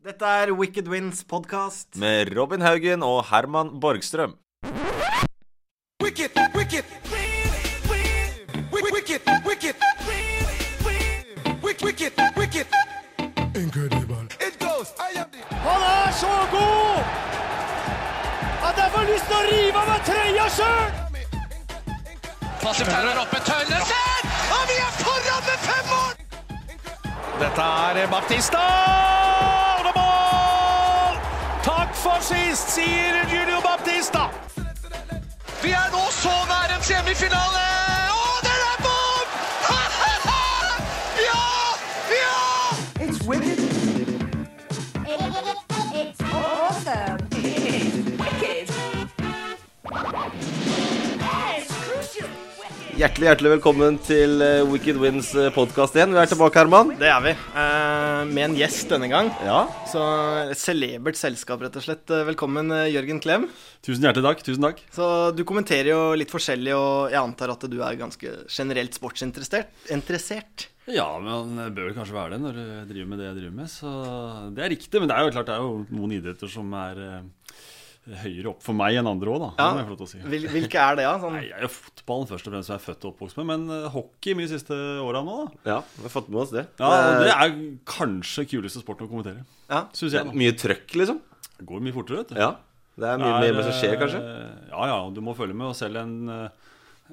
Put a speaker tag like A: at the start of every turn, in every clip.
A: Dette er Wicked Wins podkast.
B: Med Robin Haugen og Herman Borgstrøm.
C: Wicked, wicked, wicked, wicked, wicked, wicked, wicked, wicked. Incredible. It goes. I am the.
D: Han er så god at jeg får lyst til å rive av meg trøya sjøl!
E: Passer Tauler oppe, Tønnesen! Og vi er foran med fem mål!
D: Dette er Baptista! Og det er mål! Takk for sist, sier Julio Baptista.
E: Vi er nå så nær en semifinale! Og den er mål! ja! Ja!
F: It's awesome. Wicked.
B: Hjertelig hjertelig velkommen til eh, Wicked Wins eh, podcast igjen. Vi er tilbake, Herman.
G: Det er vi. eh, Med en gjest denne gang.
B: Ja,
G: Så et Celebert selskap, rett og slett. Eh, Velkommen, eh, Jørgen Klem.
H: Tusen hjertelig takk. tusen takk
G: Så Du kommenterer jo litt forskjellig, og jeg antar at du er ganske generelt sportsinteressert? Interessert?
H: Ja, men det bør vel kanskje være det når du driver med det jeg driver med. Så det er riktig. Men det er jo klart det er jo noen idretter som er eh, høyere opp for meg enn andre òg, da. Det
G: Ja.
H: må jeg få lov til å si.
G: Hvil- Hvilke er det, da?
H: Nei,
G: Sånn,
H: jeg er jo fotballen først og fremst som jeg er født og oppvokst med, men eh, hockey mye de siste åra nå, da.
B: ja, vi har fått med oss det.
H: Ja, og Det er kanskje kuleste sporten å kommentere.
G: Ja.
H: Syns
B: Det
H: jeg.
B: er
H: da.
B: mye trøkk, liksom.
H: Det går mye fortere, vet du.
B: Ja. Det er mye
H: Det er,
B: mer som skjer, kanskje.
H: eh, Ja, ja, du må følge med. Og selv en, eh,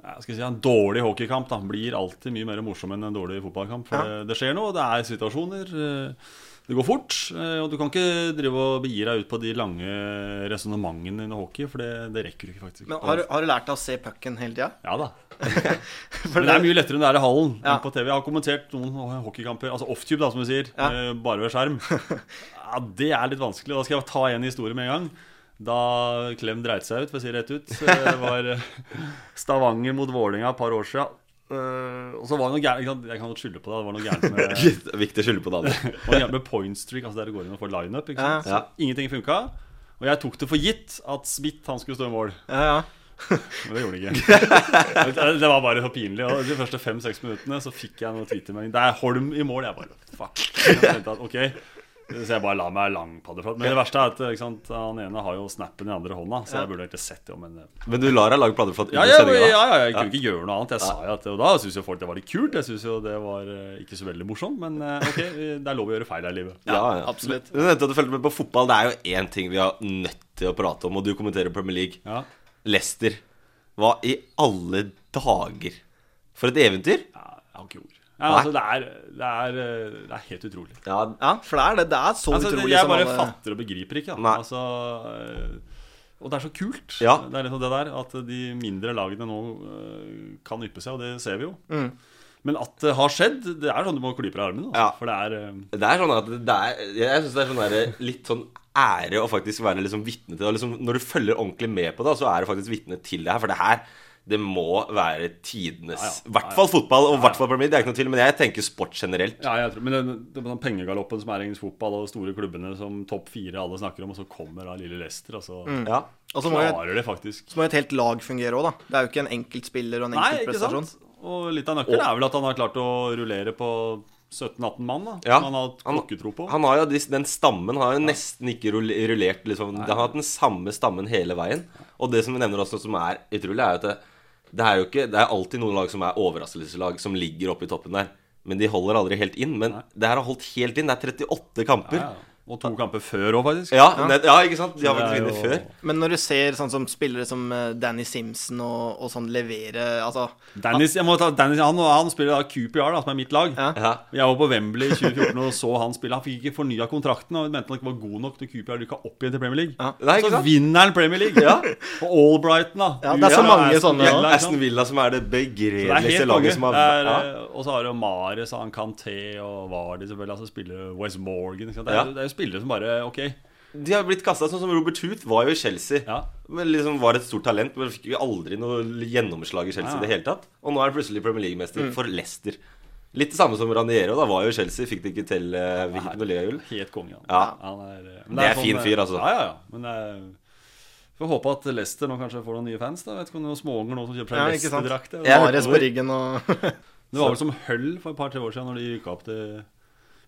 H: ja, skal jeg si, en dårlig hockeykamp da, blir alltid mye mer morsom enn en dårlig fotballkamp. For det, det skjer noe, det er situasjoner. eh, Det går fort, eh, og du kan ikke drive og begi deg ut på de lange resonnementene innen hockey, for det, det rekker du ikke faktisk.
G: men har, du- har du lært deg å se pucken hele tida?
H: Ja da.
G: For
H: Men det er mye lettere enn det er i hallen
G: Ja.
H: enn på TV. Jeg har kommentert noen hockeykamper, altså offtube, da, som du sier,
G: Ja.
H: eh, bare ved skjerm. Ja, det er litt vanskelig. Da skal jeg ta en historie med en gang. Da Klem dreit seg ut, for å si det rett ut, så det var eh, Stavanger mot Vålerenga et par år siden. Eh, og så var det noe gærent ikke sant? Jeg kan godt skylde på det. Det var noe gærent med, det
B: Det er Viktig å skylde på det andre.
H: var noe gærent med point streak, altså der du går inn og får lineup. Ikke sant?
B: Ja.
H: Så ingenting funka. Og jeg tok det for gitt at Smith han skulle stå i mål.
G: Ja, ja.
H: Men det gjorde det ikke. Det- Det var bare så pinlig. Og de første fem-seks minuttene så fikk jeg noen twittermelding. Det er Holm i mål! Jeg bare fuck. Jeg tenkte at, ok så jeg bare la meg langpaddeflat. Men det verste er at ikke sant, han ene har jo snappen i andre hånda. Så jeg burde egentlig sett det. Men
B: Men du lar deg lage plater for at
H: ja, ja, ja, ja, ja, jeg kunne ikke gjøre noe annet. Jeg sa jo at, Og da syntes jo folk det var litt kult. Jeg synes jo det var eh, ikke så veldig morsomt. Men eh, ok, det er lov å gjøre feil her i livet.
B: Ja, ja.
G: absolutt.
B: Du nevnte at du fulgte med på fotball. Det er jo én ting vi har nødt til å prate om, og du kommenterer Premier League.
H: Ja.
B: Leicester. Hva i alle dager? For et eventyr!
H: Ja, jeg har ikke ord. Ja, altså, det, er, det, er, eh, det er helt utrolig.
B: Ja,
G: ja, for det er det. Det er så
H: Altså,
G: utrolig
H: jeg
G: som
H: bare
G: alle
H: fatter og begriper ikke. Da.
B: Nei.
H: Altså, øh, og det er så kult.
B: Ja.
H: Det er liksom det der At de mindre lagene nå øh, kan yppe seg, og det ser vi jo. Men at det har skjedd, det er sånn du må klype deg i armen. Altså,
B: Ja.
H: For det er øh,
B: Det er sånn at det er, Jeg syns det er sånn der, litt sånn ære å faktisk være liksom vitne til det. Og Liksom, når du følger ordentlig med på det, så er du faktisk vitne til det her. For det her det må være tidenes I
H: Ja, ja.
B: hvert fall fotball, og i hvert fall Premier League. Det er ikke noe til, men jeg tenker sport generelt.
H: ja, jeg tror, Men den, den, den pengegaloppen som er i engelsk fotball, og de store klubbene som topp fire alle snakker om, og så kommer da lille Leicester, og så
B: Ja.
G: Og så må jo-
H: klarer det faktisk.
G: så må jo et helt lag fungere òg, da. Det er jo ikke en enkeltspiller og en
H: Nei, ikke
G: enkeltprestasjon.
H: sant? Og litt av nøkkelen er vel at han har klart å rullere på 17-18 mann, da.
B: Ja.
H: Som han har
B: Han-
H: klokketro på.
B: Han har jo, de- den stammen har jo nesten ikke rull- rullert liksom. Han har hatt den samme stammen hele veien. Og det som vi nevner også som er utrolig, er jo at det, det er jo ikke Det er alltid noen lag som er overraskelseslag, som ligger oppe i toppen der. Men de holder aldri helt inn. Men det her har holdt helt inn. Det er 38 kamper.
H: Ja, ja. Og to kamper før òg, faktisk.
B: Ja, nett- ja, ikke sant? De har
H: Det
B: faktisk
H: er
B: vunnet
H: jo-
B: før.
G: Men når du ser sånn som spillere som eh, Danny Simpson og, og sånn levere Altså
H: Dennis, jeg må ta Dennis han, han spiller da QPR, da, som er mitt lag.
G: Ja.
B: Ja.
H: Jeg var på Wembley i 2014 og så han spille. Han fikk ikke fornya kontrakten. Og mente han ikke var god nok til QPR rykka opp igjen til Premier League.
B: Nei, ikke
H: Så
B: sant?
H: vinner han Premier League. Og Albrighton, da.
G: Ja, det er så
H: Ut-
G: mange
H: Aston
G: sånne,
H: Villa,
G: da.
H: ikke sant?
B: Aston Villa som er det
H: Det er
B: begredeligste
H: helt mange.
B: laget som har
H: Det
B: ja.
H: er, eh, Og så har du Mares og Kanté og Vardy selvfølgelig. Altså spiller West Morgan. Ikke sant? Det,
B: Ja.
H: er, det er jo spillere som bare OK.
B: De har blitt kasta sånn som Robert Huth var jo i Chelsea.
H: Ja.
B: Men liksom var et stort talent, men fikk jo aldri noe gjennomslag i Chelsea i det hele tatt. Og nå er han plutselig Premier
H: Mm.
B: League-mester for Leicester. Litt det samme som Raniero. Da var jo i Chelsea, fikk det ikke til uh, Viktor Leagull.
H: Helt konge, han.
B: Ja.
H: han er, eh, men
B: Det er fin fyr, altså.
H: Ja, ja, ja. Men det er, får håpe at Leicester nå kanskje får noen nye fans. da Vet ikke om det er noen småunger nå som kjøper seg
G: Ja, ikke sant?
H: Leicester-drakt.
B: Ja.
H: ja.
G: Mares på ryggen og
H: Det var vel som Hull for et par-tre år siden, når de rykka opp til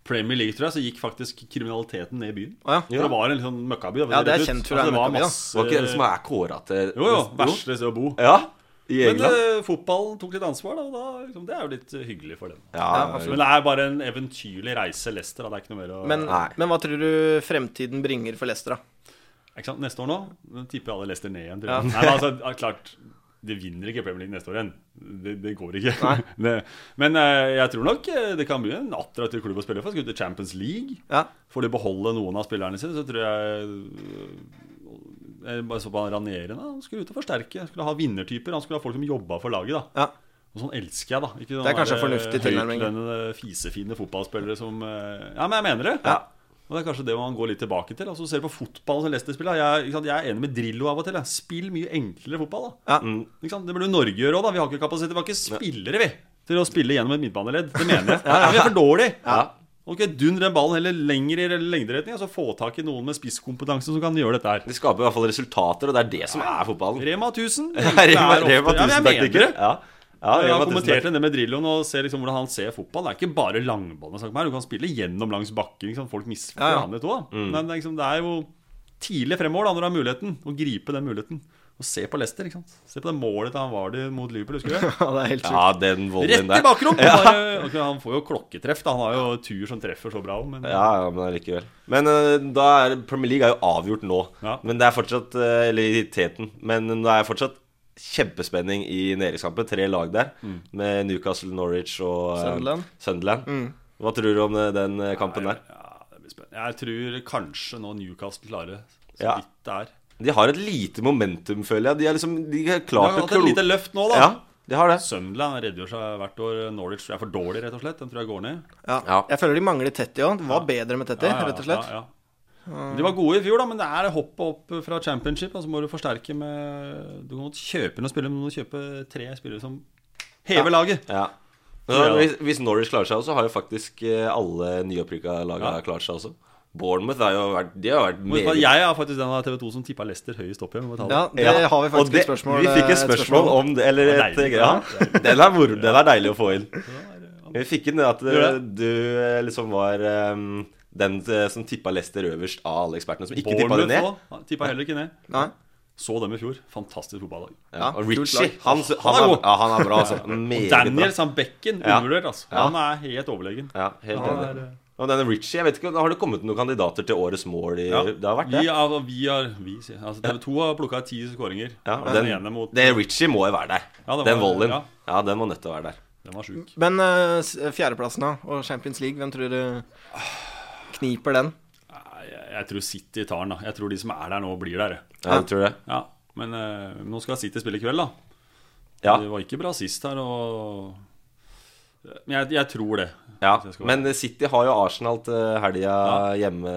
H: Premier League, tror jeg, så gikk faktisk kriminaliteten ned i byen.
G: Å ja.
H: For det var en litt sånn møkkaby. da, for
G: Ja, det er
H: rett ut.
G: kjent for å
H: Altså,
G: være
H: det var
G: møkkaby, da.
H: masse
B: Var ikke det som er kåra til
H: Jo, jo. Verste sted å bo.
B: Ja, i
H: Men
B: England.
H: eh, fotballen tok litt ansvar, da, og da, liksom, det er jo litt eh, hyggelig for dem.
B: Ja,
H: Men det er bare en eventyrlig reise, Leicester. Da. Det er ikke noe mer å
G: Men,
B: Nei.
G: men hva tror du fremtiden bringer for Leicester, da?
H: ikke sant? Neste år nå nå tipper jeg alle Leicester ned igjen. Tror jeg. Nei, men altså, ja, klart De vinner ikke Premier League neste år igjen. Det, det går ikke. Det, men eh, jeg tror nok eh, det kan bli en attraktiv klubb å spille for. Skal ut i Champions League.
G: Ja.
H: Får de beholde noen av spillerne sine, så tror jeg eh, jeg bare så på han Ranieri, da. Han skulle ut og forsterke. Han skulle ha vinnertyper. Han skulle ha folk som jobba for laget. da
G: Ja.
H: Og sånn elsker jeg, da. Ikke
G: Det er kanskje en fornuftig tilnærming.
H: Høytlønnede, fisefine fotballspillere som eh, Ja, men jeg mener det. Og Det er kanskje det man går litt tilbake til. Altså, ser du på fotball som Leicester spiller jeg, ikke sant, jeg er enig med Drillo av og til. jeg. Spill mye enklere fotball. da
G: Ja.
H: ikke sant? Det burde jo Norge gjøre òg, da. Vi har ikke kapasitet. Vi har ikke spillere, vi, til å spille gjennom et midtbaneledd. Det mener jeg. Vi er for dårlige. Ok, Dund den ballen heller lenger i lengderetning. Altså Få tak i noen med spisskompetanse som kan gjøre dette her.
B: De skaper i hvert fall resultater, og det er det som er fotballen.
H: Rema 1000.
B: Rema,
H: Det er
B: Rema
H: ofte- ja, men jeg mener
B: Tusen-taktikere.
H: det.
B: Ja, ja,
H: Jeg
B: Rema
H: har kommentert
B: 1000-taktikere.
H: det med Drilloen og ser liksom hvordan han ser fotball. Det er ikke bare langbane. det er snakk om her. Du kan spille gjennom langs bakken. Liksom. Folk misforstår
G: Ja, ja.
H: han litt òg.
B: Mm.
H: Men det er liksom, det er jo tidlig fremover da, når du har muligheten. Å gripe den muligheten. Og se på Leicester. ikke sant? Se på det målet til han var det mot Liverpool, husker du? det?
G: Ja, det er helt sjukt.
B: Ja, den volleyen
H: Rett i
B: der.
H: bakrom! og Bare, ok, han får jo klokketreff. da, Han har jo tur som treffer så bra. Men
B: Ja, ja, men allikevel. Men eh, da er Premier League er jo avgjort nå.
H: Ja.
B: Men det er fortsatt eh, Eller i teten. Men det er fortsatt kjempespenning i nedrykkskampen. Tre lag der, med Newcastle, Norwich og eh,
G: Sunderland.
B: Sunderland.
H: Mm.
B: Hva tror du om eh, den eh, kampen der?
H: ja, det blir spennende. Jeg tror kanskje nå Newcastle klarer så
B: Ja.
H: vidt det er.
B: De har et lite momentum, føler jeg. De er liksom De har
H: De har
B: klart
H: hatt et lite løft nå, da.
B: Ja, de har det.
H: Sunderland redegjør seg hvert år. Norwich tror jeg er for dårlig, rett og slett. Den tror jeg går ned.
G: Ja.
B: Ja.
G: Jeg føler de mangler Tetty òg. Det var bedre med Tetty, rett og slett.
H: Ja, ja. De var gode i fjor, da, men det er hoppet opp fra championship. Og så må du forsterke med Du kan godt kjøpe noen spillere, men du må kjøpe tre spillere som hever laget.
B: Ja.
H: Tror jeg,
B: Men eh, hvis, hvis Norwich klarer seg også, har jo faktisk eh, alle nyopprykka lagene
H: Ja.
B: klart seg også. Bournemouth har jo vært De har vært
H: Må huske på at Jeg er faktisk den av TV 2 som tippa Leicester høyest opp igjen. må jeg ta det.
G: Ja, det
B: Ja,
G: har vi
B: og
G: faktisk
B: det-
G: et spørsmål
B: Vi fikk et
G: eh,
B: spørsmål om det. Eller
H: Det er
B: et,
H: deilig,
B: ja. Den er, moro- den er deilig å få inn. Vi fikk inn det at eh,
H: Gjorde
B: du eh, liksom var eh, den eh, som tippa Lester øverst av alle ekspertene, som ikke tippa det
H: Bournemouth
B: ned.
H: òg. Ja, Tippa heller ikke ned.
G: Nei.
H: Så dem i fjor. Fantastisk fotballag.
B: Ja, og
G: kult
B: Richie.
G: lag.
B: Han, han,
H: Han er
B: er,
H: god.
B: ja, han er bra, altså. Meget bra.
H: Daniel Sambekken,
B: Ja.
H: undervurdert. Altså.
B: Ja.
H: Han er helt overlegen.
B: Ja, helt
H: Han
B: enig.
H: er, eh,
B: Og denne Richie, jeg vet ikke, Har det kommet noen kandidater til årets mål? I,
H: Ja.
B: Det har vært det.
H: Vi, er, altså, vi, er, vi sier jeg. altså, TV 2 har plukka ti skåringer.
B: Ja,
H: og den, ene mot
B: det Richie må jo være der.
H: Ja, det
B: den
H: var-
B: volleyen.
H: ja.
B: Ja. den må nødt til å være der.
H: Den var sjuk.
G: Men eh, s- fjerdeplassen da, og Champions League, hvem tror du
B: Ah.
G: kniper den?
H: Nei, Jeg, jeg tror City tar den. da Jeg tror de som er der nå, blir der. jeg.
B: Ja, jeg tror det.
H: Ja, Men eh, nå skal City spille i kveld, da.
B: Ja.
H: Det var ikke bra sist her, og Men jeg, jeg tror det.
B: Ja.
H: Hvis jeg skal være-
B: Men City har jo Arsenal til helga hjemme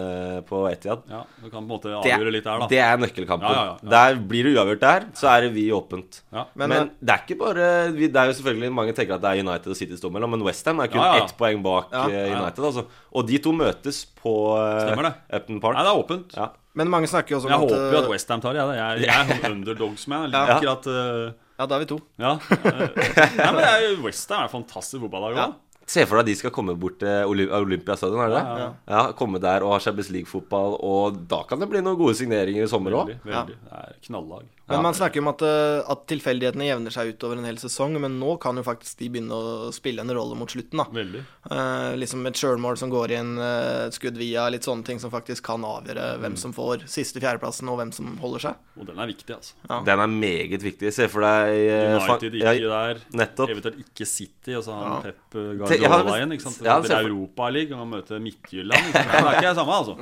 B: på Etiad.
H: ja, Du kan på en måte
B: Det,
H: avgjøre litt der, da.
B: det er nøkkelkampen.
H: Ja, ja, ja, ja.
B: Der Blir det uavgjort der, så er det vi åpent.
H: Ja.
B: Men, det er ikke bare vi- Det er jo selvfølgelig Mange tenker at det er United og City som står mellom, men Westham er kun
H: Ja, ja.
B: ett poeng bak eh,
H: ja.
B: United. Altså. Og de to møtes på eh,
H: Stemmer det.
B: Upton Park.
H: Nei, det er åpent.
B: Ja.
G: Men mange snakker jo også
H: Jeg
G: om at,
H: håper jo at
G: eh,
H: Westham tar det. Jeg, jeg, jeg er underdogsman. Jeg liker at eh,
G: Ja, da er vi to.
H: Ja. eh, Nei, men jeg- Westham er et fantastisk fotballag òg.
B: Se for deg at de skal komme bort til Oly- Olympiastadion, er det det? Ja, Komme der og ha Champions League-fotball, og da kan det bli noen gode signeringer i sommer òg.
H: Veldig, veldig. Det er knallag.
G: Men man snakker jo om at, eh, at tilfeldighetene jevner seg ut over en hel sesong, men nå kan jo faktisk de begynne å spille en rolle mot slutten, da.
H: Veldig.
G: Eh, liksom et sjølmål som går inn, eh, et skudd via, litt sånne ting som faktisk kan avgjøre
B: Mm.
G: hvem som får siste fjerdeplassen, og hvem som holder seg.
H: Og den er viktig, altså.
B: Den er meget viktig. Se for deg eh, fa-
H: United ikke
B: ja,
H: der.
B: nettopp.
H: Eventuelt ikke City, og så har han Pep
B: jeg har-
H: Guardiola igjen. ikke sant?
B: Ja,
H: Det
B: se
H: er
B: for-
H: Europaligaen, og han møter Midtjylland. Ikke sant? Det er ikke det samme, altså.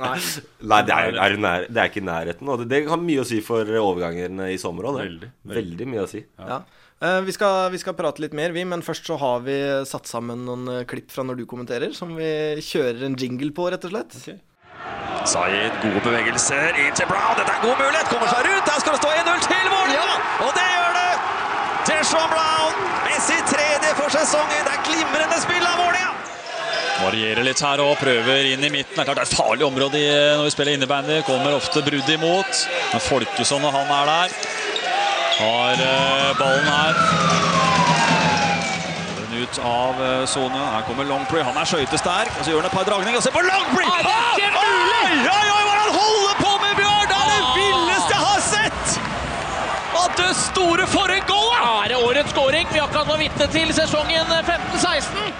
B: Nei, det er, er, nær, det er ikke i nærheten. Og det, det har mye å si for overgangene i sommer òg.
H: Veldig,
B: veldig. veldig mye å si.
G: Ja. Eh, Vi skal, vi skal prate litt mer, vi, men først så har vi satt sammen noen eh, klipp fra når du kommenterer, som vi kjører en jingle på, rett og slett.
D: Zaid, gode bevegelser inn til Brown. Dette er god mulighet. Kommer seg rundt. Der skal det stå 1-0 til Vålerenga! Og det gjør det! Deshaun Brown med sitt tredje for sesongen. Det er glimrende spill av Vålerenga!
I: Varierer litt her og prøver inn i midten. Det er klart det er et farlig område i- når vi spiller innebandy. Kommer ofte brudd imot. Men Folkesson og han er der. Har eh, ballen her. Den ut av eh, sone. Her kommer Longpree. Han er skøytesterk. Og så gjør han et par dragninger. Og se på Longpree!
E: Nei, det er ikke mulig!
I: Oi, oi, oi, hva er det han holder på med, Bjørn? Det er det villeste jeg har sett! At det store for en goal! ja!
E: Er det årets scoring vi akkurat var vitne til sesongen 15-16?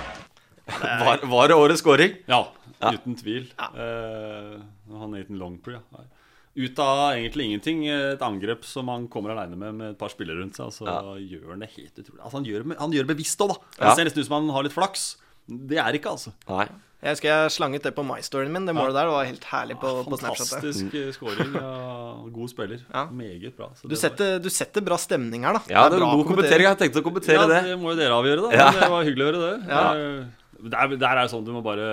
B: Var, var det årets scoring?
H: Ja, uten tvil. Eh, han Nathan Longpree. Ja. Nei. Ut av egentlig ingenting, eh, et angrep som han kommer aleine med med et par spillere rundt seg, og så gjør han det helt utrolig. Altså, han gjør det han gjør det bevisst òg, da. Altså,
B: Ja.
H: Det ser nesten ut som han har litt flaks. Det er ikke, altså.
B: Nei.
G: Jeg husker jeg slanget det på my-storyen min. Det målet der var helt herlig på, på Snapchat.
H: Fantastisk eh, scoring. Ja, god spiller.
G: Ja.
H: Meget bra. så
G: Du
H: det var-
G: setter, du setter bra stemning her, da.
B: Ja, det
G: er
B: er
G: bra
B: god kommentering. Jeg tenkte å kommentere
H: ja,
B: det.
H: det må jo dere avgjøre, da.
B: Ja.
H: Men det var hyggelig å høre det. Eh, Der, der er det sånn du må bare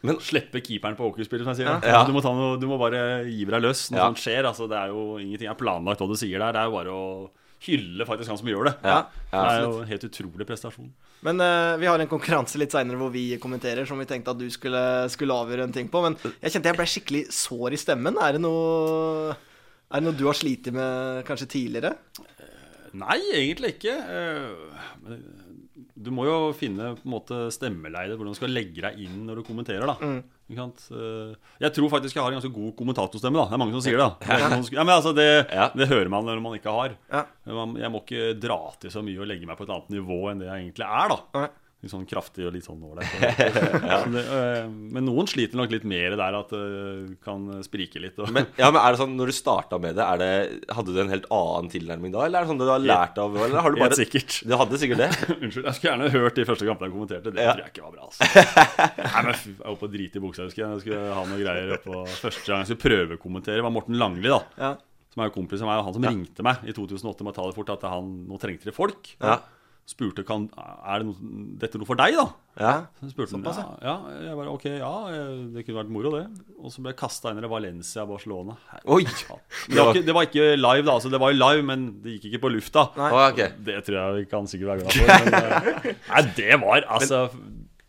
B: Men-
H: slippe keeperen på åkerspillet, som jeg sier.
B: Ja.
H: Du, må ta noe, du må bare gi deg løs når
B: Ja.
H: sånt skjer. Altså, det er jo ingenting er planlagt, hva du sier der. Det er jo bare å hylle faktisk han som gjør det.
B: Ja.
H: Det
B: Ja.
H: er jo en helt utrolig prestasjon.
G: Men eh, vi har en konkurranse litt seinere hvor vi kommenterer, som vi tenkte at du skulle, skulle avgjøre en ting på. Men jeg kjente jeg ble skikkelig sår i stemmen. Er det noe, er det noe du har slitt med kanskje tidligere?
H: Nei, egentlig ikke. Eh, men Du må jo finne på en måte stemmeleiet, hvordan du skal legge deg inn når du kommenterer. da Ikke sant? Eh, Jeg tror faktisk jeg har en ganske god kommentatorstemme. da Det er mange som sier det. da Det er noen som- ja, men altså, det,
B: Ja.
H: det hører man når man ikke har.
G: Ja.
H: Man- Jeg må ikke dra til så mye og legge meg på et annet nivå enn det jeg egentlig er. da
G: Nei.
H: Litt sånn kraftig og litt sånn ålreit. Så det, eh, Men noen sliter nok litt mer der at det kan sprike litt. Og,
B: Men, ja, men er det sånn, når du starta med det, er det, hadde du en helt annen tilnærming da? Eller er det sånn du har lært av Eller har du
H: Helt
B: bare
H: sikkert.
B: Du hadde sikkert det.
H: Unnskyld, jeg skulle gjerne hørt de første kampene jeg kommenterte. Det tror jeg ikke var bra. altså Nei, men fy- Jeg var oppe og drite i buksa, husker jeg. Jeg skulle ha noen greier oppå Første gang jeg skulle prøvekommentere, var Morten Langli, da.
G: Ja.
H: Som er jo kompis av meg. og Han som ringte meg i 2008 med å ta det fort, at han, nå trengte de folk.
B: Ja.
H: Spurte kan, er det noe, dette noe for deg, da.
B: Ja.
H: Så spurte han, ja, ja, jeg bare, ok, ja, eh, det kunne vært moro, det. Og så ble jeg kasta inn i Valencia Barcelona. Herre
B: Oi!
H: faen. Det var, ikke, det var ikke live, da. Altså, det var jo live, men det gikk ikke på lufta.
B: Å, ok.
H: Det tror jeg vi kan sikkert være glad for. Men, eh, nei, det var altså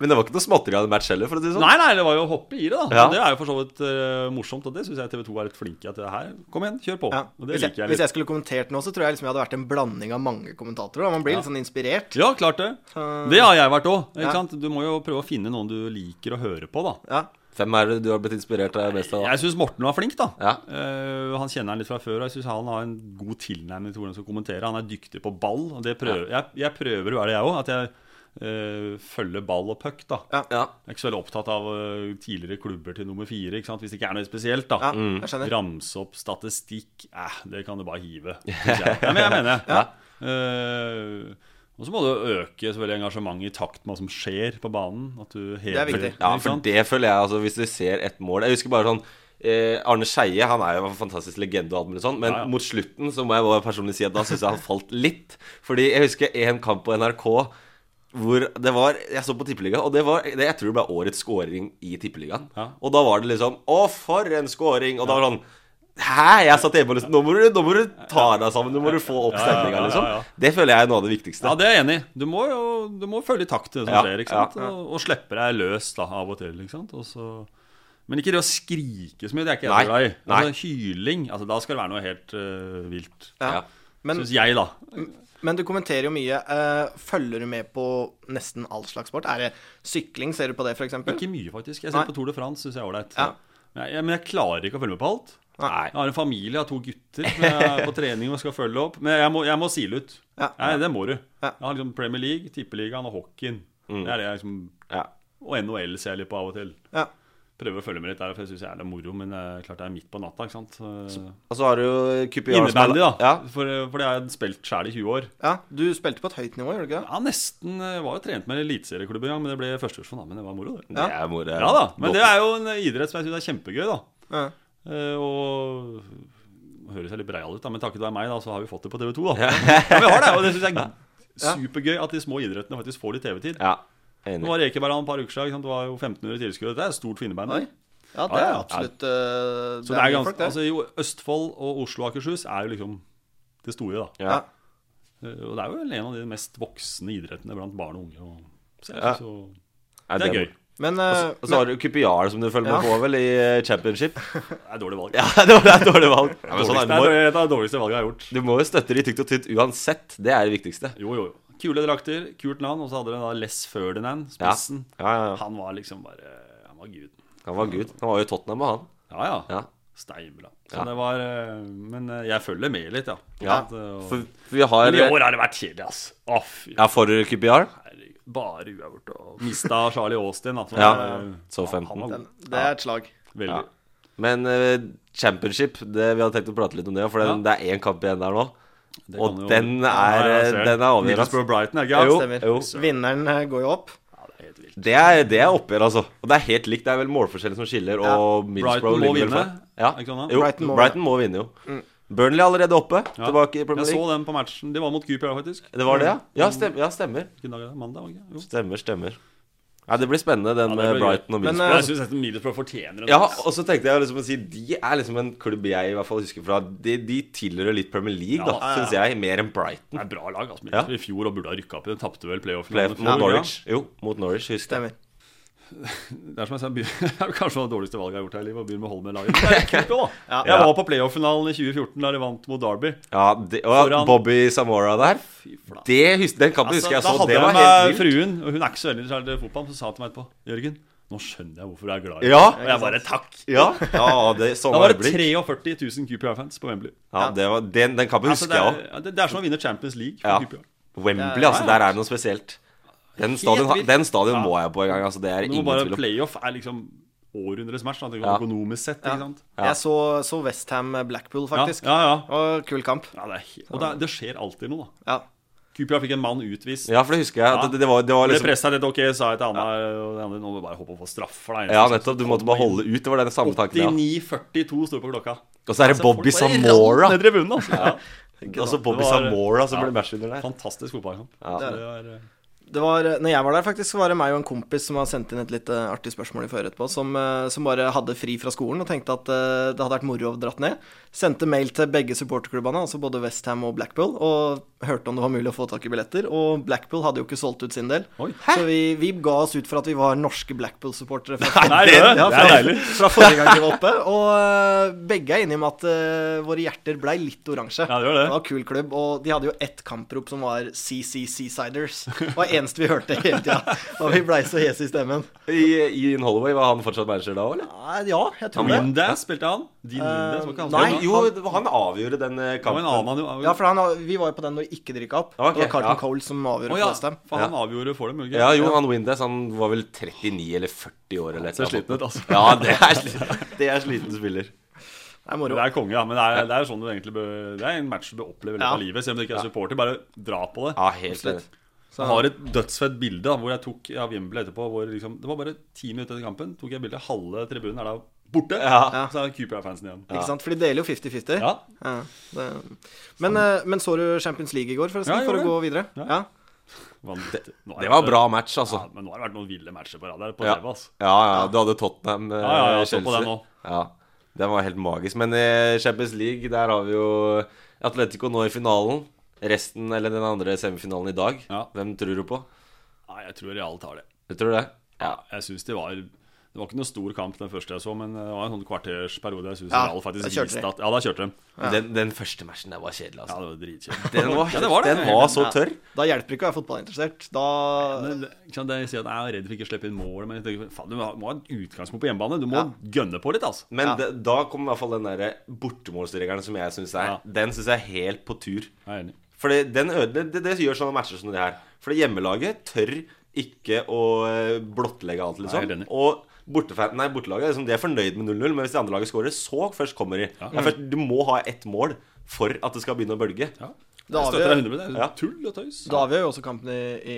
B: Men det var ikke noe småtteri av en match heller, for å si det sånn.
H: Nei, nei, det var jo å hoppe i det, da.
B: Ja.
H: Det er jo for så vidt eh, morsomt, og det syns jeg TV 2 er litt flinke til. Her, kom igjen, kjør på.
G: Ja.
H: Og det
G: Hvis, jeg,
H: liker jeg
G: hvis
H: litt.
G: jeg skulle kommentert nå, så tror jeg liksom jeg hadde vært en blanding av mange kommentatorer. Da. Man blir litt sånn inspirert.
H: Ja, klart det.
G: Eh.
H: Det har jeg vært òg.
G: Ja.
H: sant? Du må jo prøve å finne noen du liker å høre på, da.
G: Ja.
B: Hvem er det du har blitt inspirert av mest av? da?
H: Jeg syns Morten var flink, da.
B: Ja.
H: Eh, han kjenner han litt fra før. Og jeg syns han har en god tilnærming til hvordan han skal kommentere. Han er dyktig på ball. Og det prøver, jeg, jeg prøver å være det, jeg òg. At jeg eh, følger ball og puck, da.
G: Ja.
B: Ja.
H: Jeg er ikke så veldig opptatt av eh, tidligere klubber til nummer fire, ikke sant? hvis det ikke er noe spesielt. da.
G: Ja, jeg skjønner.
H: Ramse opp statistikk eh, Det kan du bare hive. synes Jeg. Ja, men jeg mener det. Eh, og så må du øke selvfølgelig engasjementet i takt med hva som skjer på banen. At du hever,
G: viktig.
H: ikke
B: Ja, for
H: sant?
B: det føler jeg, altså, hvis du ser et mål Jeg husker bare sånn eh, Arne Skeie han er jo en fantastisk legende, og alt mulig sånn, men
H: Ja, ja.
B: mot slutten så må jeg bare personlig si at da syns jeg han falt litt. Fordi jeg husker en kamp på NRK hvor det var Jeg så på Tippeligaen, og det var det jeg tror det ble årets scoring i Tippeligaen.
H: Ja.
B: Og da var det liksom Å, for en scoring! Og da var det sånn Hæ? Jeg satt hjemme og liksom Nå må du, nå må du ta deg sammen! Nå må du få opp
H: Ja, ja, ja,
B: stemninga,
H: ja,
B: liksom.
H: ja.
B: Det føler jeg er noe av det viktigste.
H: Ja, det er jeg enig i. Du må jo du må følge i takt til det som
B: Ja,
H: skjer, ikke
B: ja,
H: sant? Og, og slippe deg løs da, av og til. ikke sant? Og så... Men ikke det å skrike så mye, det er ikke jeg
B: Nei,
H: så glad i.
B: nei.
H: Altså, hyling, altså, da skal det være noe helt eh, vilt.
G: Ja.
B: Ja.
G: Men,
H: Syns jeg, da.
G: men du kommenterer jo mye. Eh, følger du med på nesten all slags sport? Er det sykling? Ser du på det, f.eks.?
H: Ikke mye, faktisk. Jeg
G: Nei.
H: ser på Tour de France, syns jeg er ålreit.
G: Ja.
H: Men jeg- Men jeg klarer ikke å følge med på alt.
G: Nei.
H: Jeg har en familie, jeg har to gutter som jeg er på trening og skal følge opp. Men jeg må, jeg må sile ut.
G: Ja.
H: Nei, det må du.
G: Ja.
H: Jeg har liksom Premier League, Tippeligaen og hockeyen. Det er det jeg liksom,
B: Ja.
H: Og NHL ser jeg litt på av og til.
G: Ja.
H: Prøver å følge med litt der, for jeg syns det er litt moro. Men det er klart det er midt på natta, ikke sant. Så- eh,
B: Og så har du jo Kupiar som er-
H: Innebandy, da.
B: Ja.
H: For, eh, for det har jeg spilt sjæl i 20 år.
G: Ja, du spilte på et høyt nivå, gjorde du ikke det?
H: Ja, nesten. Jeg var jo trent med en eliteserieklubben en gang, men det ble førsteversjon, da. Men det var moro, det.
B: Det er moro.
H: Ja da, men det er jo en idrett som jeg syns er kjempegøy, da.
G: Ja.
H: Eh, og nå høres jeg litt breial ut, da, men takket være meg, da, så har vi fått det på TV 2, da. Ja, men vi har det, og det syns jeg er supergøy at de små idrettene faktisk får litt TV-tid.
B: Ja,
H: Nå
B: enig.
H: var Ekeberg han et par uker siden, ikke sant? det var jo 1500 tilskuere. Det er stort for innebandy.
G: Oi. Ja, det
H: Ja,
G: er
H: ja.
G: absolutt eh,
H: Så det er
G: mye
H: ganske,
G: folk, det.
H: altså jo, Østfold og Oslo og Akershus er jo liksom det store, da.
B: Ja.
H: Eh, Og det er jo en av de mest voksne idrettene blant barn og unge. Og, så, jeg
B: Ja.
H: synes jo-
B: Er
H: det er gøy.
G: Men,
H: altså-
G: eh,
B: Og så har du Kupiar som du følger
G: Ja.
B: med på vel i eh, championship.
H: Det er dårlig valg.
B: Ja, det var det er et dårlig valg. Ja, men
H: Dårligste-
B: sånn er
H: det
B: det.
H: er det dårligste valget jeg har gjort.
B: Du må, du må jo støtte de tykt og tynt uansett. Det er det viktigste.
H: Jo, jo, jo. Kule drakter, kult navn. Og så hadde de da Les Ferdinand, spissen.
B: Ja, ja, ja.
H: Han var liksom bare Han var guden.
B: Han var gud. Han var jo i Tottenham, og han.
H: Ja, ja.
B: Ja.
H: Steinbra. Så
B: Ja.
H: det var eh, Men eh, jeg følger med litt, ja.
B: Ja,
H: At, eh, og-
B: For, for vi har
H: Men i år har det vært kjedelig, ass. Å, fy
B: Ja, for QPR?
H: herregud. Bare uavgjort og Mista Charlie Austin. At han,
B: Ja.
H: eh,
B: Så
H: han
B: 15.
H: var
G: Den,
H: god.
G: det er et slag.
H: Veldig.
B: Ja. Men eh, championship det, Vi hadde tenkt å prate litt om det, for det, det er én kamp igjen der nå.
H: Det
B: Og
H: kan jo-
B: den er- eh,
H: Ja, jeg ser.
B: den er avgjørende.
H: Middlesbrough Brighton, er ikke sant?
G: Stemmer.
B: jo.
G: Vinneren eh, går jo opp.
H: Ja, det er helt vilt.
B: Det er, det er oppgjør, altså. Og det er helt likt. Det er vel målforskjellen som skiller. Og Middlesbrough
H: Brighton må
B: ligger vel
H: vinne,
B: foran. Ja.
H: er ikke sånn da?
B: jo,
G: Brighton
B: Brighton,
G: må Mm.
B: må, vinne, jo. Burnley er allerede oppe.
H: Ja.
B: Tilbake i Premier
H: Jeg så Mm.
B: League.
H: den på matchen. De var mot QPR, faktisk.
B: Det var det, ja? Ja, stem, ja, stemmer.
H: Hvilken dag er det? Mandag? var det ikke? Jo.
B: Stemmer, stemmer. Ja, det blir spennende, den
H: Ja, det
B: med
H: blir gøy.
B: Brighton og
G: Men,
B: Middlesbrough.
G: eh,
H: Jeg syns Middlesbrough fortjener en
B: Ja,
H: plass.
B: og så tenkte jeg liksom å si De er liksom en klubb jeg i hvert fall husker fra De, de tilhører litt Premier League,
H: Ja,
B: da,
H: ja, ja.
B: syns jeg. Mer enn Brighton.
H: Det er bra lag. Altså, Middlesbrough I fjor og burde ha rykka opp i den. Tapte vel playoffen.
B: Ble,
H: i fjor,
B: mot
H: ja.
B: Norwich. Jo, mot Norwich, husker jeg.
G: Stemmer.
H: Det er som jeg sa, by- det er kanskje det dårligste valget jeg har gjort her i livet, å begynne med Holmen-laget. Men det er kult også, da. Jeg var på playoff-finalen i 2014 da de vant mot Derby.
B: Ja, det, og
H: Foran-
B: Bobby Samora der.
H: flate.
B: Det hus- den kampen husker jeg
H: Altså, da
B: så.
H: hadde
B: Det
H: jeg
B: var
H: med
B: helt vilt.
H: fruen, og hun er ikke så veldig interessert i fotball, så sa hun til meg etterpå Jørgen, nå skjønner jeg hvorfor du er glad i
B: Ja.
H: meg.» Og jeg bare takk.
B: Ja, ja det, sånn
H: Da var det
B: øyeblikk.
H: 43 000 QPR-fans på Wembley.
B: Ja, det var, den, den kampen
H: Altså,
B: husker
H: det,
B: jeg
H: er,
B: òg.
H: ja, det, det er som å vinne Champions League. For
B: Ja.
H: QPR.
B: Wembley, altså. Der er det noe spesielt. Den stadion,
H: vilt.
B: den stadion må jeg på en gang. Altså, det er
H: Nå må
B: ingen
H: bare
B: tvil om.
H: Playoff er liksom århundrets match, da, det er
B: Ja.
H: økonomisk sett. Ikke sant?
G: Jeg så, så Westham Blackpool,
H: Ja,
G: faktisk.
H: ja, ja.
G: Og kul kamp.
H: ja det er, helt- og det, er- det skjer alltid noe, da.
G: Ja.
H: QPR fikk en mann utvist.
B: Ja, for det husker jeg.
H: Ja.
B: at Det, det, var, det var
H: Det
B: liksom
H: presset litt, ok, sa jeg til Anna og de andre, nå må vi bare hoppe på straffer. da».
B: Ja, nettopp. Du måtte bare holde ut. Det var den samme tanken. Ja.
H: 89-42 sto det på klokka.
B: Og så er det
H: Altså,
B: Bobby
H: folk bare rant
B: Samora.
H: Ned i bunnen, altså. Ja.
B: Og så Bobby
H: Det var-
B: Samora som
H: ja.
B: ble matchvinner der.
H: Fantastisk fotballkamp.
B: Ja.
H: Så det var, eh,
G: Det var, når jeg var der, faktisk, så var det meg og en kompis som har sendt inn et litt eh, artig spørsmål i forhøret på, som, eh, som bare hadde fri fra skolen og tenkte at eh, det hadde vært moro å dratt ned. Sendte mail til begge supporterklubbene, altså både Westham og Blackpool, og hørte om det var mulig å få tak i billetter. Og Blackpool hadde jo ikke solgt ut sin del.
H: Oi.
G: Så vi, vi ga oss ut for at vi var norske Blackpool-supportere. fra-
H: Nei, det,
G: Ja,
H: det er
G: fra-
H: deilig.
G: Fra forrige gang vi var oppe. Og eh, begge er enige om at eh, våre hjerter blei litt oransje.
H: Ja, det gjør det.
G: var kul klubb, og de hadde jo ett kamprop som var CCC-siders. Det var det eneste vi hørte hele tida. Og vi blei så hese i stemmen.
B: I Ian Holloway, var han fortsatt manager da òg, eller?
G: Nei, Ja, jeg tror det.
H: Windass spilte han. Dean Windass var ikke han.
G: Eh, nei,
H: som-
B: Jo, det var- han avgjorde den eh,
H: Det var en annen
B: kampen.
H: han jo.
G: Ja, for han, vi var jo på den når ikke drikka opp.
B: Ok,
G: det var Carlton
B: ja.
G: Cole som
H: Å
G: avgjorde
H: ja,
G: for Westham.
H: for han avgjorde for dem, ikke
B: Ja, jo, han Windass han var vel 39 eller 40 år eller et
H: Ser
B: eller annet.
H: sliten ut, altså.
B: Ja, det er, sli- det er sliten spiller.
G: Det er
H: Det
G: moro.
H: er konge, ja. Men det er, det er sånn du egentlig bør, Det er en match du bør oppleve i løpet
G: Ja.
H: av livet. Selv om du ikke er supporter, bare dra på det.
B: Ja, helt
G: Absolutt.
B: enig.
G: Så-
H: Jeg har et dødsfett bilde da, hvor jeg tok av Wimble etterpå. Hvor liksom, det var bare ti minutter etter kampen. Tok jeg bilde. Halve tribunen er da borte.
B: Ja.
H: Så er Cooper-fansen igjen.
G: Ikke sant? For de deler jo 50-50.
H: Ja.
G: Ja, det- men, eh, men så du Champions League i går, forresten?
H: Ja, jeg
G: for å
H: gjorde
G: gå videre? Ja.
H: Vanvittig. Nå er
B: Det var bra match,
H: Ja,
B: altså.
H: men nå har det vært noen ville matcher på rad her. På
B: Ja,
H: TV, altså.
B: ja, ja du hadde Tottenham, eh,
H: Ja, ja, jeg så på
B: Chelsea.
H: den nå.
B: Ja, den var helt magisk. Men i Champions League, der har vi jo Atletico nå i finalen. Resten, eller den andre semifinalen i dag.
H: Ja.
B: Hvem tror du på?
H: Nei, jeg tror Real tar det.
B: Du tror det? Ja.
H: Jeg synes det var Det var ikke noe stor kamp, den første jeg så, men det var en sånn kvartersperiode jeg syns
G: Ja,
H: Real faktisk
G: da kjørte
H: viste
G: de.
H: at Ja, da kjørte de.
B: Den, den første matchen der var kjedelig,
H: Ja,
B: altså.
H: det var dritkjedelig.
B: Den var,
H: Ja, det var det.
B: Den var så
G: Ja.
B: tørr.
G: Da hjelper det ikke å være fotballinteressert. Da
H: Men det- ikke sant, Jeg sier at jeg er redd for ikke å slippe inn mål, men jeg tenker, faen, du må ha et utgangspunkt på hjemmebane. Du må gønne på litt, altså.
B: Men det, da kom i hvert fall den derre bortemålsregelen som jeg syns er
H: Ja.
B: Den syns jeg er helt på tur.
H: Jeg er enig.
B: For det, den ødele, det, det gjør sånne matcher som det her. For det hjemmelaget tør ikke å eh, blottlegge alt,
H: Nei, jeg er
B: liksom.
H: helt enig.
B: Og bortefan, nei, bortelaget er liksom, de er fornøyd med 0-0, men hvis det andre laget scorer, så først kommer de. Det er først, du må ha ett mål for at det skal begynne å bølge.
H: Ja.
G: Da
H: Jeg
G: har vi-
H: støtter deg 100 Det
B: Ja.
H: er tull og tøys.
G: Da avgjør jo også kampen i, i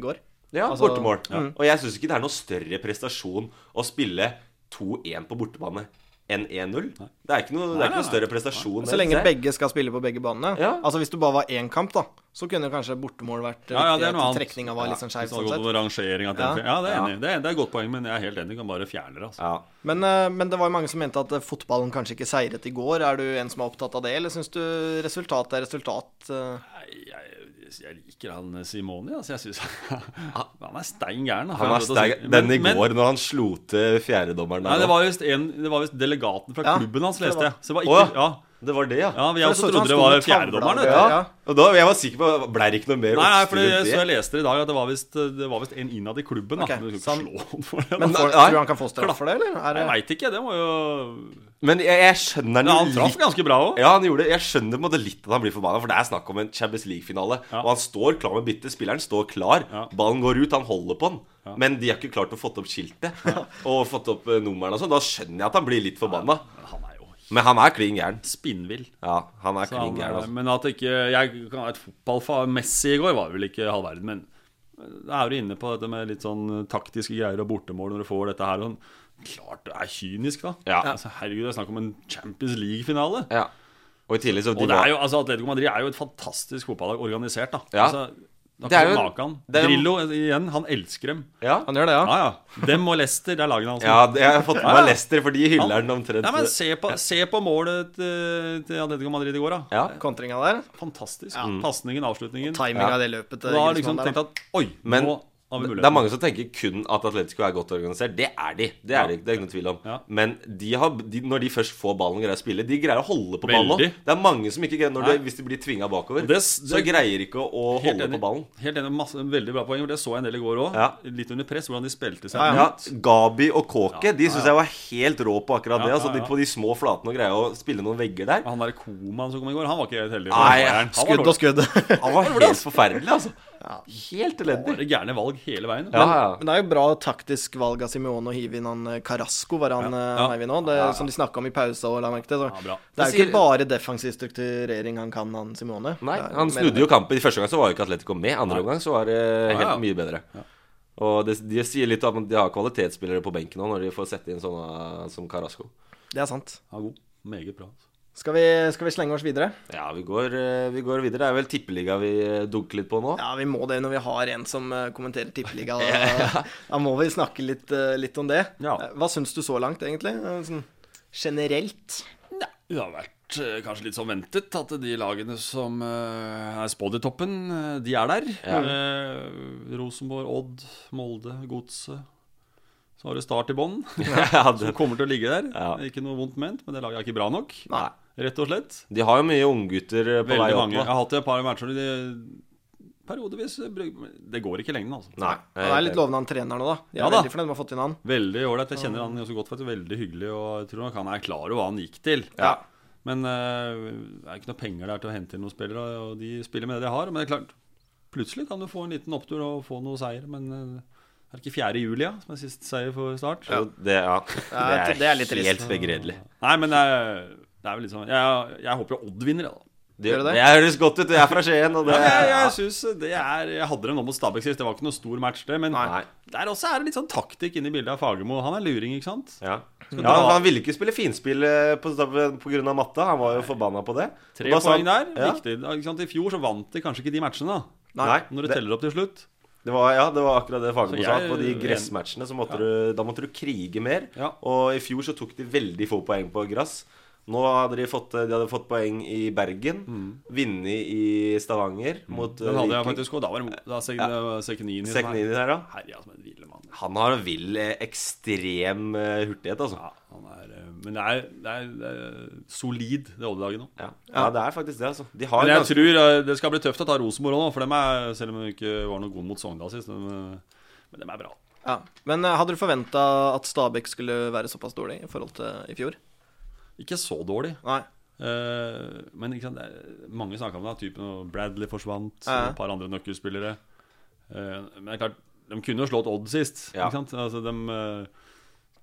G: går.
B: Ja,
G: Altså-
B: bortemål. Og jeg syns ikke det er noe større prestasjon å spille 2-1 på bortebane enn 1-0. Det er ikke noe, det er ikke noe større prestasjon.
G: Så
B: enn
G: lenge
B: det.
G: begge skal spille på begge banene.
B: Ja.
G: Altså Hvis du bare var én kamp, da, så kunne jo kanskje bortemål vært
H: Ja, ja, det
G: riktig,
H: er noe
G: at
H: annet.
G: Trekninga var litt sånn skeiv.
H: Hvis det
G: sånn
H: hadde gått
G: sett.
H: over rangering at den-
G: Ja.
H: ja, det er
B: Ja.
H: enig. Det, er, det er et godt poeng, men jeg er helt enig. Du kan bare fjerne det. altså.
B: ja.
G: men, eh, men det var jo mange som mente at eh, fotballen kanskje ikke seiret i går. Er du en som er opptatt av det, eller syns du resultat er resultat? eh?
H: Nei, Jeg, jeg liker han Simoni. Altså. Jeg synes, han er stein gæren. da.
B: Han er
H: Jeg vet å si-
B: sterk. Den i
H: Men- men-
B: går, når han slo til fjerdedommeren
H: Nei,
B: der
H: det
B: nå.
H: var visst en- det var visst delegaten fra
G: Ja,
H: klubben hans,
G: det
H: leste
G: var-
H: jeg. Så det var
B: Å,
H: ikke, ja.
B: Det var det, ja.
H: Ja,
G: For det
H: Vi
G: så ut
H: også
G: som
H: trodde det
G: han
H: var
G: sto med
H: fjerdedommeren.
G: tavla.
H: vet du.
G: Ja.
B: Og da, jeg var sikker på Blei det ikke noe mer
H: Nei, nei, for
B: oppstyr
H: jeg, så jeg
B: rundt det?
H: leste i dag at det var visst, det var visst en innad i klubben. Da.
G: Ok,
H: Men du
G: så
H: skal
G: han-
H: ikke slå han for det.
G: Men
H: da.
G: får,
B: nei.
G: tror du han kan få straff for det, eller? Er
H: Jeg
G: det,
H: veit ikke. Det var jo
B: Men jeg, jeg skjønner
H: ja, Han
B: jo
H: traff
B: litt
H: ganske bra òg.
B: Ja, han gjorde det. Jeg skjønner på en måte litt at han blir forbanna, for det er snakk om en Champions League-finale.
H: Ja.
B: Og han står klar med bytte. Spilleren står klar.
H: Ja.
B: Ballen går ut, han holder på den. Men de har ikke klart å fått opp skiltet og fått opp eh, nummeren og sånn. Da skjønner jeg at han blir litt forbanna.
H: Han er jo
B: Men han er klin gæren.
H: spinnvill.
B: Ja, han er
H: Så han
B: klin
H: er-
B: gæren, altså.
H: Men at ikke jeg kan ha et fotballfag Messi i går var vel ikke halv verden, men da er du inne på dette med litt sånn taktiske greier og bortemål når du får dette her. Og klart det er kynisk, da.
B: Ja.
H: Altså, herregud, det er snakk om en Champions League-finale.
B: Ja. Og i tillegg så de
H: Og det
B: var-
H: er jo, altså Atletico Madrid er jo et fantastisk fotballag organisert. da
B: Ja.
H: altså,
B: Det er jo-
H: Makan.
B: det er jo-
H: Drillo eh, igjen, han elsker dem.
B: ja.
G: han gjør det, ja?
H: Ja, ja. Dem og Leicester, det er lagene hans.
B: ja, det jeg har fått med
H: Ja, ja.
B: meg Lester, for de hyller den omtrent.
H: Nei, men se på, se på målet til, til Atletico Madrid i går, da.
B: ja.
G: Kontringa der?
H: Fantastisk. Pasningen, avslutningen.
G: Timinga
B: Ja.
G: i det løpet til
H: Da har
G: Griezmann eh,
H: liksom
G: der,
H: tenkt
G: da.
H: at Oi,
B: Men
H: nå har vi
B: det er
H: muligheten.
B: mange som tenker kun at Atletico er godt organisert. Det er de. Det er,
H: Ja.
B: det ikke- det er ikke noe tvil om.
H: Ja.
B: Men de har, de, når de først får ballen og greier å spille, de greier å holde på ballen også.
H: Veldig.
B: Det er mange som ikke greier når de,
H: Nei.
B: Hvis de blir tvinga bakover,
H: Det-
B: så
H: det-
B: greier ikke å, å
H: Helt
B: holde
H: enig.
B: på ballen.
H: Helt enig, masse, Veldig bra poeng. og Det så jeg en del i går òg.
B: Ja.
H: Litt under press, hvordan de spilte seg.
B: Ja, Gabi og Kåke De syns jeg var helt rå på akkurat
H: Ja,
B: det. Altså
H: ja, ja.
B: de, På de små flatene og greia å spille noen vegger der.
H: Han derre Koman som kom i går, han var ikke helt
B: Nei,
H: heldig. han var gæren. Han var
G: Skudd og
H: dårlig.
G: skudd.
B: Han var helt forferdelig, altså. Helt elendig.
H: Bare gærne valg hele veien.
B: Ja, ja.
G: Men det er jo bra taktisk valg av Simeone å hive inn han eh, Carrasco, var han ja.
H: Ja.
G: heiv inn nå, det, som de snakka om i pausa. og la merke til. Så.
H: bra.
G: det er jo
B: Jeg
G: ikke
B: sier-
G: bare defensiv strukturering han kan, han Simeone.
B: Nei,
G: Det er
B: han
G: mer-
B: snudde jo kampen. I første gang så var jo ikke Atletico med. Andre omgang så var det helt
H: Ja, ja.
B: mye bedre. Og det, de sier litt om at de har kvalitetsspillere på benken nå, når de får sette inn sånne som Carasco.
G: Det er sant.
H: Han var god. Meget bra.
G: Skal vi, skal vi slenge oss videre?
B: Ja, vi går, eh, vi går videre. Det er vel tippeliga vi eh, dunker litt på nå.
G: Ja, vi må det når vi har en som eh, kommenterer tippeliga. Da, da må vi snakke litt, eh, litt om det.
H: Ja.
G: Eh, Hva syns du så langt, egentlig? Eh, Sånn generelt?
H: Det har vært eh, kanskje litt som ventet at de lagene som eh, er spådd i toppen, eh, de er der. Eh, Rosenborg, Odd, Molde, Godset. Så har du Start i bånn,
B: Ja,
H: som
B: det-
H: kommer til å ligge der.
B: Ja.
H: Ikke noe vondt ment, men det laget er ikke bra nok.
G: Nei.
H: Rett og slett.
B: De har jo mye unggutter eh, på
H: Veldig
B: vei opp
H: mange. Jeg
B: nå.
H: har hatt et par matcher de periodevis bruk- Det går ikke i lengden, altså.
B: Nei,
G: Han er litt lovende han trener nå, da. Jeg er
H: Ja da.
G: veldig fornøyd med å ha fått inn han.
H: Veldig ålreit. Jeg kjenner han jo så godt, faktisk. Veldig hyggelig. Og jeg tror nok han er klar over hva han gikk til.
B: Ja.
H: Men eh, det er ikke noe penger der til å hente inn noen spillere, og de spiller med det de har. Men det er klart, plutselig kan du få en liten opptur og få noe seier, men eh, er det ikke 4. juli, ja, som er siste seier for Start?
B: Jo, Det, ja.
G: Ja,
B: det, er
G: det er litt trist.
B: helt begredelig.
H: Nei, men det er, det er vel litt sånn Jeg, jeg håper jo Odd vinner, jeg, da.
B: Det,
G: Gjør det det?
B: det høres godt ut. Jeg er fra Skien, og det
H: Ja, jeg, jeg synes det er Jeg hadde det nå mot Stabæk sist, det var ikke noe stor match, det. Men
B: Nei.
H: der også er det litt sånn taktikk inne i bildet av Fagermo. Han er luring, ikke sant?
B: Ja. ja, Han ville ikke spille finspill eh, på, på grunn av matta. Han var jo forbanna på det.
H: Tre
B: Og da sa
H: poeng der,
B: han- Ja.
H: viktig. Ikke sant? I fjor så vant de kanskje ikke de matchene, da.
B: Nei,
H: Når du
B: det-
H: teller opp til slutt.
B: Det var, ja, det var akkurat det
H: Så
B: Fagermo sa.
H: jeg-
B: På de gressmatchene så måtte du, da måtte du krige mer.
H: Ja.
B: Og i fjor så tok de veldig få poeng på gress. Nå hadde de fått, de hadde fått poeng i Bergen, vunnet i Stavanger mot
H: Mm.
B: eh,
H: Den hadde jeg
B: Viking.
H: faktisk, og da var det da sek- det var Sekhnini som er- altså,
B: Sekhnini der, da.
H: Herja, som en hvile mann.
B: Han har en vill, eh, ekstrem eh, hurtighet, altså.
H: Ja, han er, eh, men det er, det er, det er solid, det Odd-laget nå.
B: Ja. ja, det er faktisk det, altså. De har
H: Men jeg
B: ganske-
H: tror eh, det skal bli tøft å ta Rosenborg òg, for dem er, selv om de ikke var noe gode mot Sogndal sist. Men, eh, men dem er bra.
G: Ja. Men eh, hadde du forventa at Stabæk skulle være såpass dårlig i forhold til i fjor?
H: Ikke så dårlig.
G: Nei.
H: Eh, men ikke sant, det er, mange snakka om det. Typen og Bradley forsvant,
G: Ja.
H: og et par andre nøkkelspillere. Eh, men det er klart, de kunne jo slått Odd sist.
B: Ja.
H: Ikke sant? Altså, de eh,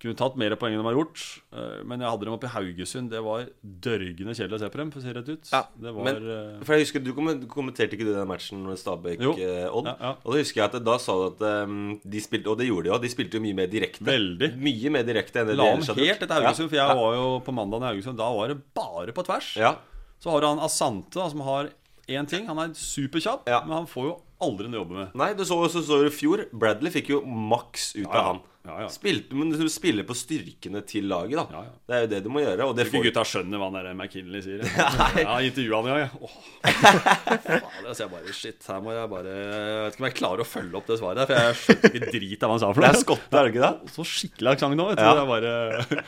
H: kunne tatt mer poeng enn de har gjort. eh, men jeg hadde dem oppe i Haugesund. Det var dørgende kjedelig å se på dem, for å si det rett ut.
G: Ja,
H: Det var
B: Men,
H: eh,
B: for jeg husker, Du kommen- kommenterte ikke du den matchen med
H: Jo.
B: Stabæk-Odd?
H: Ja, ja.
B: Og da husker jeg at det- da sa du at eh, de spilte, og det gjorde de òg, de spilte jo mye mer direkte.
H: Veldig.
B: Mye mer direkte enn det de
H: La om
B: ellers hadde
H: helt
B: gjort.
H: etter Haugesund, for jeg var jo på mandag i Haugesund. Da var det bare på tvers.
B: Ja. ja.
H: Så har du han Asante, da, som har én ting. Han er superkjapp,
B: Ja.
H: men han får jo aldri noe å jobbe med.
B: Nei, du så også så du i fjor. Bradley fikk jo maks ut av han.
H: Ja, ja.
B: Spilte, men du spiller på styrkene til laget, da.
H: Ja, ja.
B: Det er jo det du må gjøre. Og det
H: Tror ikke
B: får
H: gutta skjønner hva han der McKinley sier. Jeg har intervjua han, ja. ja. Åh. Faen, altså, jeg bare, shit, her må jeg bare Jeg vet ikke om jeg klarer å følge opp det svaret, der, for jeg skjønte ikke drit av hva han sa. for
B: Det
H: noe.
B: er skotte, er det ikke det?
H: Så skikkelig aksent nå, vet du.
B: Ja.
H: Det er bare...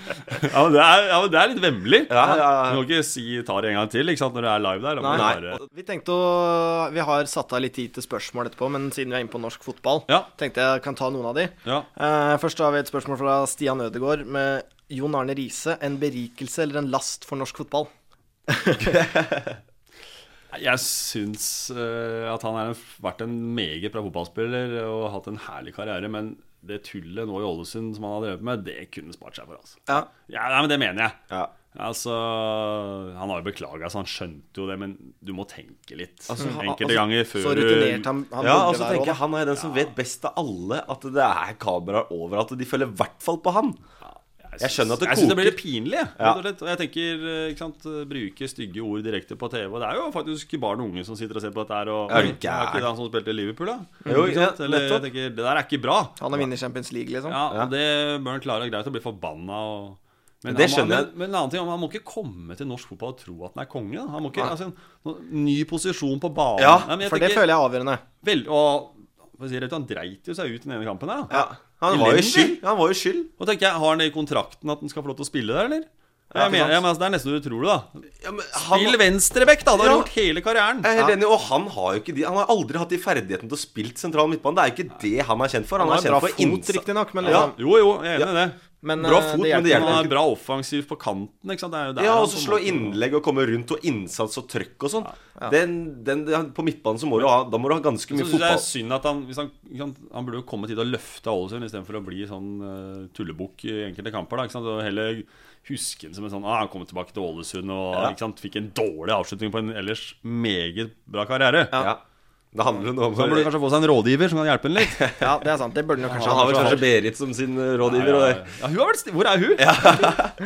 H: ja, men det er, ja, men det er litt vemmelig.
B: Ja, ja, ja.
H: Du kan ikke si ta det en gang til ikke sant, når du er live der. da må
G: Nei.
H: du Bare...
G: Vi tenkte å Vi har satt av litt tid til spørsmål etterpå, men siden vi er inne på norsk fotball,
H: Ja.
G: tenkte jeg kan ta noen av de.
H: Ja.
G: Eh, først har vi et spørsmål fra Stian Ødegaard med Jon Arne Riise. En berikelse eller en last for norsk fotball?
H: Jeg syns eh, at han har vært en meget bra fotballspiller og hatt en herlig karriere, men det tullet nå i Ålesund som han har drevet med, det kunne spart seg for, altså.
G: Ja.
H: Ja, nei, men det mener jeg.
B: Ja.
H: Altså, Han har jo beklaga, så han skjønte jo det, men du må tenke litt enkelte
G: altså,
H: ganger før
G: så rutinert han, han
B: Ja,
G: burde
B: altså
G: være
B: tenker jeg
G: også, da.
B: Han er den som vet best av alle at det er kameraer overalt, og de følger i hvert fall på han.
H: Jeg,
B: Jeg skjønner at det
H: jeg synes det
B: koker.
H: blir litt pinlig. jeg,
B: Ja.
H: rett og slett. Og jeg tenker, eh, ikke sant, Bruke stygge ord direkte på TV. Og Det er jo faktisk barn og unge som sitter og ser på dette her. Og,
B: Er du
H: det er
B: gæren?
H: ikke han som spilte i Liverpool, da?
B: Jo,
H: Ikke sant?
B: ja,
H: Eller, jeg
B: nettopp.
H: tenker, det der er ikke bra.
G: Han har vunnet Champions League, liksom.
H: Ja, og Det bør han klare og greit å bli forbanna og men,
B: Det
H: han, må-
B: skjønner jeg.
H: men, men en annen ting, han må ikke komme til norsk fotball og tro at han er konge. da. Han må ikke, altså, en ny posisjon på banen.
B: Ja,
H: Nei, men jeg
G: For det
H: tenker-
G: føler jeg er avgjørende.
H: Vel, og hva sier jeg, han dreit jo seg ut i den ene kampen her. da.
B: Han var jo
H: Elendig.
B: skyld. Han var jo skyld.
H: Og tenker jeg, Har han det i kontrakten at han skal få lov til å spille der, eller?
B: Ja,
H: jeg mener,
B: sant.
H: jeg, men altså, Det er nesten så du tror det, da.
B: Ja, men
H: Spill venstrebekk, da! Det har
B: Ja.
H: du gjort hele karrieren.
B: Jeg er helt enig, og han har jo ikke de Han har aldri hatt de ferdighetene til å spille sentral midtbane. Det er jo ikke det han er kjent for. Han,
G: Han har
B: er
G: en bra
B: kjent
G: fot,
B: for innsats.
G: riktignok, men,
B: Ja.
G: liksom,
H: Jo, jo, jeg er enig i det.
G: men
B: Bra
G: eh,
B: fot, men det
G: hjelper
B: hjelper
H: Han
G: ikke.
H: er bra offensivt på kanten. ikke sant? Det er jo der
B: Ja,
H: han
B: og så
H: på en
B: slå
H: måte-
B: innlegg og komme rundt, og innsats og trøkk og sånn. Den, den, den- på midtbanen så må du ha Da må du ha ganske
H: Så
B: mye
H: synes jeg det er
B: fotball.
H: synd at han, hvis han, ikke sant, han burde jo kommet hit og løfta Ålesund istedenfor å bli sånn uh, tullebukk i enkelte kamper. Da, ikke sant? Og heller huske han som en sånn ah, Han kom tilbake til Ålesund og ikke sant, fikk en dårlig avslutning på en ellers meget bra karriere.
B: Ja. Det handler jo noe
H: Så han burde
B: om
H: kanskje få seg en rådgiver som kan hjelpe han litt.
G: Ja, det er sant. Det burde han jo kanskje
B: Han
G: ha.
B: har vel kanskje Berit som sin eh, rådgiver. Og det.
H: Ja, hun har vært sti Hvor er hun?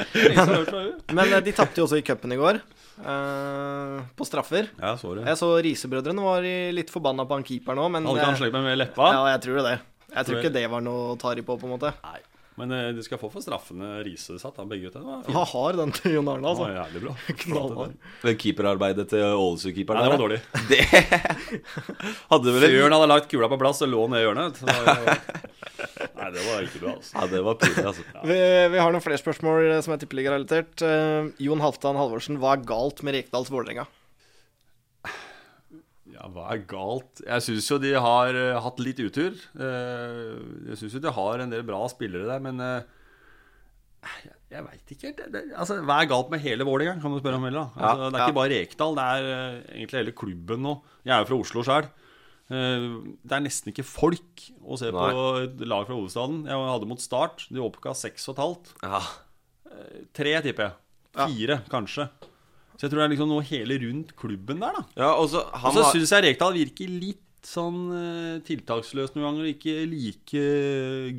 H: Ja.
G: Men eh, de tapte jo også i cupen i går, eh, på straffer.
H: ja, så det.
G: Jeg så Risebrødrene var i- litt forbanna på han keeperen òg, men
H: Hadde ikke han
G: eh,
H: slengt meg med leppa?
G: Ja, jeg tror det. Jeg tror ikke det var noe å ta de på, på en måte.
H: Nei. Men eh, du skal få for straffene Riise satt, da, begge gutta. Det var fint.
G: Han har den til Jon Arne,
H: Det var
G: altså.
H: jævlig bra.
G: Knallhard.
B: Det keeperarbeidet til Ålesund-keeperen.
H: Nei, det var
B: der,
H: dårlig.
B: da. Det hadde vel en
H: Bjørn hadde lagt kula på plass og lå ned i hjørnet. Så det var jo... Nei, det var ikke bra, altså.
B: Ja, det var pinlig, altså.
G: Vi, vi har noen flere spørsmål eh, som er tippeligarelatert. Uh, Jon Halvdan Halvorsen, hva er galt med Rekdals Vålerenga?
H: Ja, hva er galt? Jeg syns jo de har eh, hatt litt utur. Eh, jeg syns jo de har en del bra spillere der, men eh, jeg, jeg veit ikke helt. Det, det, altså, hva er galt med hele Vålerenga, kan du spørre om heller. da. Altså, det er ikke bare Rekdal, det er eh, egentlig hele klubben nå. Jeg er jo fra Oslo sjøl. det er nesten ikke folk å se på et lag fra hovedstaden. Jeg hadde mot Start. De oppga seks og et halvt.
B: Ja.
H: Tre, tipper jeg. Fire, kanskje. Så jeg tror det er liksom noe hele rundt klubben der, da.
B: Ja, og så
H: Og
B: han
H: så
B: har-
H: syns jeg Rekdal virker litt sånn eh, tiltaksløs noen ganger. og Ikke like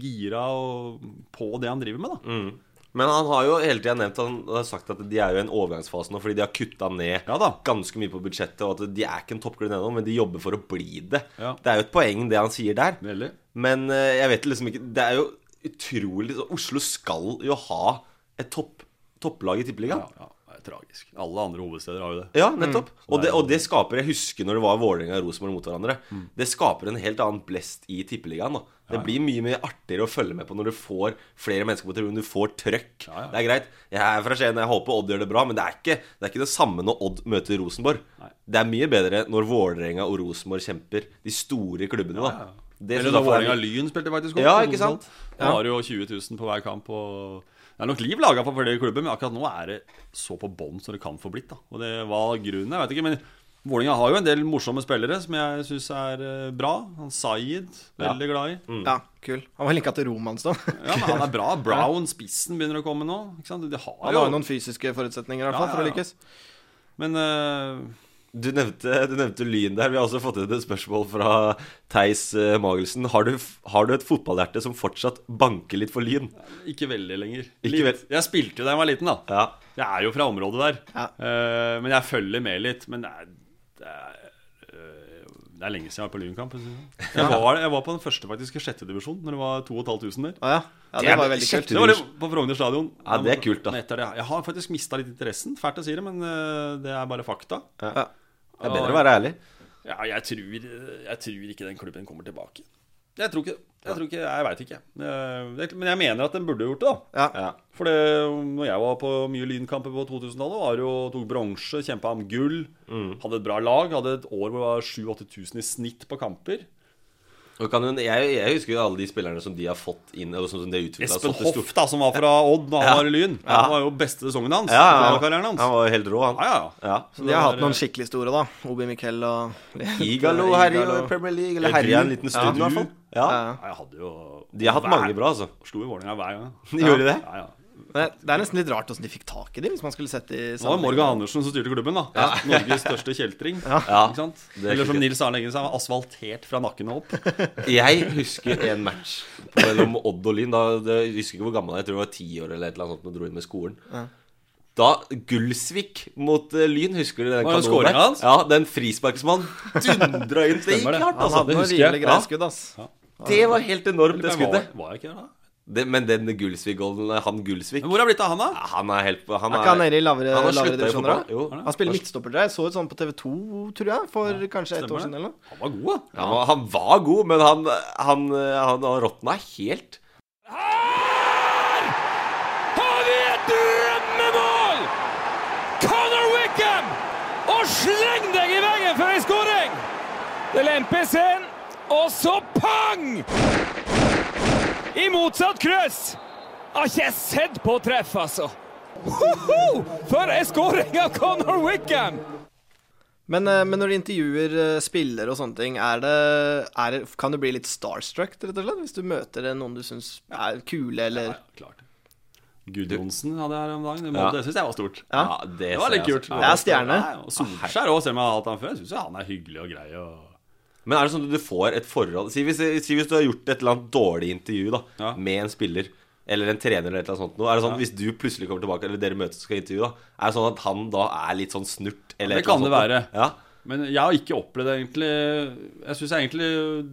H: gira og på det han driver med, da.
B: Men han har jo hele tida nevnt Han har sagt at de er jo i en overgangsfase nå fordi de har kutta ned
H: Ja da.
B: ganske mye på budsjettet, og at de er ikke en toppklubb ennå, men de jobber for å bli det.
H: Ja.
B: Det er jo et poeng, det han sier der.
H: Veldig.
B: Men eh, jeg vet liksom ikke Det er jo utrolig så Oslo skal jo ha et topp, topplag i Tippeligaen.
H: Ja, ja, det er tragisk. Alle andre hovedsteder har jo det.
B: Ja, nettopp.
H: Mm.
B: Og, det, og det skaper Jeg husker når det var Vålerenga og Rosenborg mot hverandre.
H: Mm.
B: Det skaper en helt annen blest i Tippeligaen. da Det blir mye mer artigere å følge med på når du får flere mennesker på tribunen. Du får trøkk.
H: Ja, ja.
B: Det er greit. Jeg er fra Skien, jeg håper Odd gjør det bra, men det er ikke det, er ikke det samme når Odd møter Rosenborg. Det er mye bedre når Vålerenga og Rosenborg kjemper, de store klubbene, da. Det synes
H: Eller da
B: jeg er-
H: Vålerenga Lyn spilte faktisk
B: Ja,
H: på
B: ikke
H: Rosenborg.
B: sant?
H: Da har du jo 20 000 på hver kamp. Og det er nok liv laga for flere klubber, men akkurat nå er det så på bånn som det kan få blitt. da Og det var grunnen, jeg vet ikke. Men Vålerenga har jo en del morsomme spillere som jeg syns er eh, bra. Han Zaid, veldig glad i.
B: Mm.
G: Ja, kul. Han var linka til Romans, da. Han
H: Ja, men han er bra. Brown, spissen begynner å komme nå. Ikke sant? De har
G: har
H: jo
G: jo noen fysiske forutsetninger, i hvert fall,
H: Ja,
G: for å
H: ja, ja.
G: lykkes.
H: Men eh,
B: Du nevnte, du nevnte Lyn der. Vi har også fått inn et spørsmål fra Theis eh, Magelsen. Har du, f- har du et fotballhjerte som fortsatt banker litt for Lyn?
H: ikke veldig lenger.
B: Ikke
H: Litt. Jeg spilte jo da jeg var liten, da.
B: Ja.
H: Jeg er jo fra området der.
G: Ja.
H: Eh, men jeg følger med litt. Men det er, det er eh, Det er lenge siden jeg har vært på Lynkamp. Jeg, sånn. jeg, var- jeg var på den første faktiske sjette divisjon, når det var 2500 der.
G: Å ja. ja.
B: Det er
G: Det var jo veldig
B: kjempe-
G: kult.
H: Det var det på Frogner stadion.
B: Ja, det er kult, da.
H: Men Etter det, jeg har faktisk mista litt interessen. Fælt å si det, men eh, det er bare fakta.
B: Det er bedre å være ærlig.
H: Ja, jeg tror, jeg tror ikke den klubben kommer tilbake. Jeg tror ikke Jeg tror ikke, jeg veit ikke. Eh, det- Men jeg mener at den burde gjort det, da.
G: Ja.
B: Ja.
H: For det, når jeg var på mye lynkamper på 2000-tallet, var det jo, tok bronse, kjempa om gull, hadde et bra lag, hadde et år hvor det var 7000-8000 i snitt på kamper.
B: Og kan hun, jeg, jeg husker jo alle de spillerne som de har fått inn og som, som de har utviklet så
H: Espen
B: til stor-
H: Hoff, da, som var fra Odd da han var i Lyn, det var jo beste sesongen hans.
B: Ja, ja, ja.
H: Karrieren hans.
B: Han var jo helt rå, han.
H: Ja, ja, ja.
B: Ja.
G: De har hatt
B: eh,
G: noen skikkelig store, da. Obi Miquel og
B: Igalo herja i Premier League, eller
H: Edu.
B: herja en liten stund, i
H: Edu.
B: hvert fall. Ja.
H: Nei, Jeg hadde jo
B: De har hatt mange bra, altså.
H: Slo jo Vålerenga hver gang.
B: De gjorde det?
H: Ja, ja.
G: Men det er nesten litt rart åssen de fikk tak i dem, hvis man skulle sett de
H: Det var Morgan Andersen som styrte klubben, da. Norges største kjeltring. Ikke sant?
B: er
H: Eller som
B: sikkert.
H: Nils Arne Eggen sa, han var asfaltert fra nakken og opp.
B: Jeg husker en match mellom Odd og Lyn. Da, det, jeg husker ikke hvor gammel jeg var, jeg tror jeg var ti år eller et eller annet sånt. Da dro inn med skolen. Da Gullsvik mot eh, Lyn, husker du den
H: Var det
B: kanonen der?
H: skåringen hans?
B: Ja, den frisparksmannen dundra inn. Det gikk
H: Stemmer det.
B: klart,
H: Han
B: altså.
H: hadde
B: Det
H: noe
B: husker jeg.
H: rimelig
B: Ja,
G: Greit skudd, ass.
B: det var helt enormt, det
H: Men
B: skuddet.
H: Var, var jeg ikke der da?
B: Det, men den Gullsvik-golden, han Gullsvik
H: Men hvor er det blitt av han,
B: Ja,
H: da?
B: Han er helt han
G: Er ikke han nede i lavere,
H: eh,
B: han har
G: lavere
B: sluttet i
G: divisjoner?
B: fotball. Jo.
G: da? Han spiller midtstopper der. Jeg så et sånt på TV2, tror jeg, for kanskje ett
H: Stemmer
G: år siden. eller noe.
H: Han var god, da.
B: Ja, han- han var god, men han, han, han, han råtna helt.
E: har vi et drømmemål! Connor Wickham! Og sleng deg i veggen for en skåring! Det lempes inn, og så pang! I motsatt kryss. Har ikke jeg sett på treff, altså. Hoho! For en skåring av Connor Wickham!
G: Men, eh, men når de intervjuer eh, spillere og sånne ting, er det, er det, kan du bli litt starstruck, rett og slett? Hvis du møter eh, noen du syns er kule, eller
H: Ja, klart. Gudjonsen hadde jeg her om dagen. Det, må-
B: Ja.
H: det syns jeg var stort.
G: Ja.
B: det,
H: Det var litt kult.
G: Det er stjerne.
H: Ja, og Solskjær òg, selv om jeg har hatt han før. Jeg syns han er hyggelig og grei. og...
B: Men er det sånn at du får et forhold Si hvis, si hvis du har gjort et eller annet dårlig intervju da
H: Ja.
B: med en spiller eller en trener eller et eller annet sånt noe, Er det sånn hvis du plutselig kommer tilbake eller dere møtes og skal intervjue, da er det sånn at han da er litt sånn snurt? Eller
H: Det
B: et eller annet
H: kan det
B: sånt, da? Ja.
H: Men jeg har ikke opplevd det egentlig Jeg syns egentlig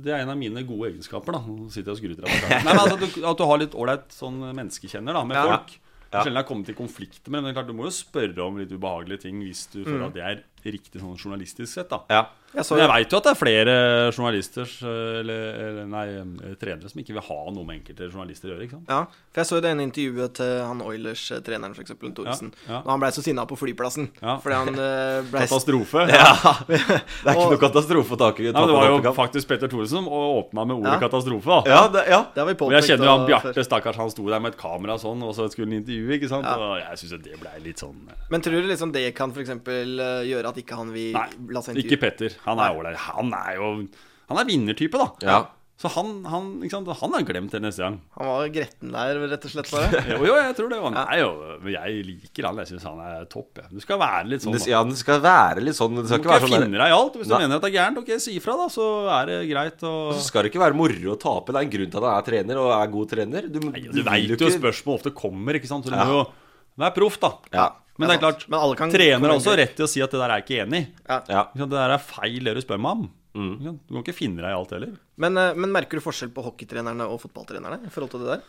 H: det er en av mine gode egenskaper. da Nå sitter jeg og skryter av meg selv. Nei, men altså, at, du, at du har litt ålreit sånn menneskekjenner da med
B: Ja.
H: folk. Sjelden jeg har kommet i konflikt med dem. Men det er klart, du må jo spørre om litt ubehagelige ting hvis du føler at det er riktig sånn journalistisk sett. da
B: Mm. Ja.
G: Jeg så
H: Men
G: jo
H: jeg veit jo at det er flere journalister eller, eller nei, eh, trenere som ikke vil ha noe med enkelte journalister å gjøre. ikke sant?
G: Ja, for jeg så jo det ene intervjuet til han eh, Oilers-treneren, f.eks. Thoresen.
H: Ja, ja.
G: Når han blei så sinna på flyplassen.
H: Ja.
G: Fordi han eh, blei
H: Katastrofe.
B: Det er ikke noe katastrofe å ta tak i.
H: Nei, men det var jo faktisk Petter Thoresen som åpna med ordet
G: Ja.
H: 'katastrofe'. da
B: ja, det, ja.
G: Det har vi
H: Men jeg
G: påpekt.
H: kjenner jo han
G: da før.
H: Bjarte, stakkars, han sto der med et kamera sånn, og så skulle han intervjue, ikke sant? Og jeg syns det blei litt sånn eh,
G: Men tror du liksom det kan f.eks. gjøre at ikke han vil la
H: Nei,
G: seg
H: ikke
G: intervjue?
H: Petter. Han er ålreit. Han er jo Han er vinnertype, da.
B: Ja.
H: Så han, han, ikke sant? han er glemt til neste gang.
G: Han var gretten der, rett og slett. Bare.
H: Jo, jo, jeg tror det. Han er jo Men jeg liker han. Jeg syns han er topp. Jeg. Du skal være litt sånn.
B: Det,
H: Da.
B: ja, den skal være litt sånn. Det
H: Du
B: skal ikke
H: skal
B: være
H: ikke
B: sånn
H: finne
B: der,
H: deg i alt. Hvis du
B: Nei.
H: mener at det er gærent, ok, si ifra, da, så er det greit. Og...
B: så skal det ikke være moro å tape. Det er en grunn til at han er trener og er god trener. Du,
H: Nei, altså,
B: du
H: Du veit jo spørsmål ofte kommer, ikke sant. Så du må jo være proff, da.
B: Ja.
H: Men det er klart,
G: Men alle kan-
H: trener har
G: kan-
H: også rett til å si at det der er jeg ikke enig i.
B: Ja.
H: Ikke sant, Det der er feil det du spør meg om. Ikke sant, Du kan ikke finne deg i alt heller.
G: Men, eh, men merker du forskjell på hockeytrenerne og fotballtrenerne i forhold til det der?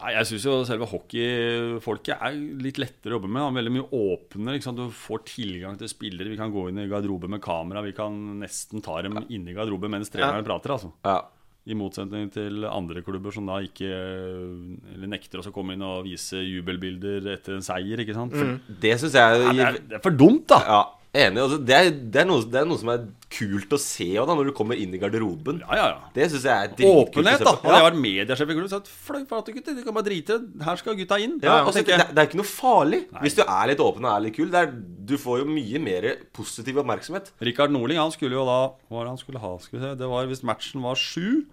H: Ja, jeg syns jo selve hockeyfolket er litt lettere å jobbe med. da. Veldig mye åpnere. Ikke sant? Du får tilgang til spillere. Vi kan gå inn i garderobe med kamera. Vi kan nesten ta dem inn i garderobe mens treneren prater. altså
B: Ja.
H: I motsetning til andre klubber som da ikke Eller nekter oss å komme inn og vise jubelbilder etter en seier. ikke sant? For,
B: Det syns jeg
H: det, er, det er for dumt, da!
B: Ja, enig. Altså, det, er, det, er noe, det er noe som er kult å se også, da, når du kommer inn i garderoben.
H: Ja, ja, ja.
B: Det syns jeg er dritkult.
H: Åpenhet,
B: å
H: da!
B: se på.
H: Hadde jeg
B: Ja.
H: vært mediesjef i klubben, så hadde jeg sagt fløy flate, gutter, de kan bare drite i det. Her skal gutta inn.
B: Ja,
H: Og
B: altså,
H: tenker
B: det,
H: jeg,
B: det er ikke noe farlig hvis du er litt åpen og er litt kul. Det er, du får jo mye mer positiv oppmerksomhet.
H: Rikard Norling han skulle jo da Hva var det han skulle ha? Skal vi se, det var Hvis matchen var sju,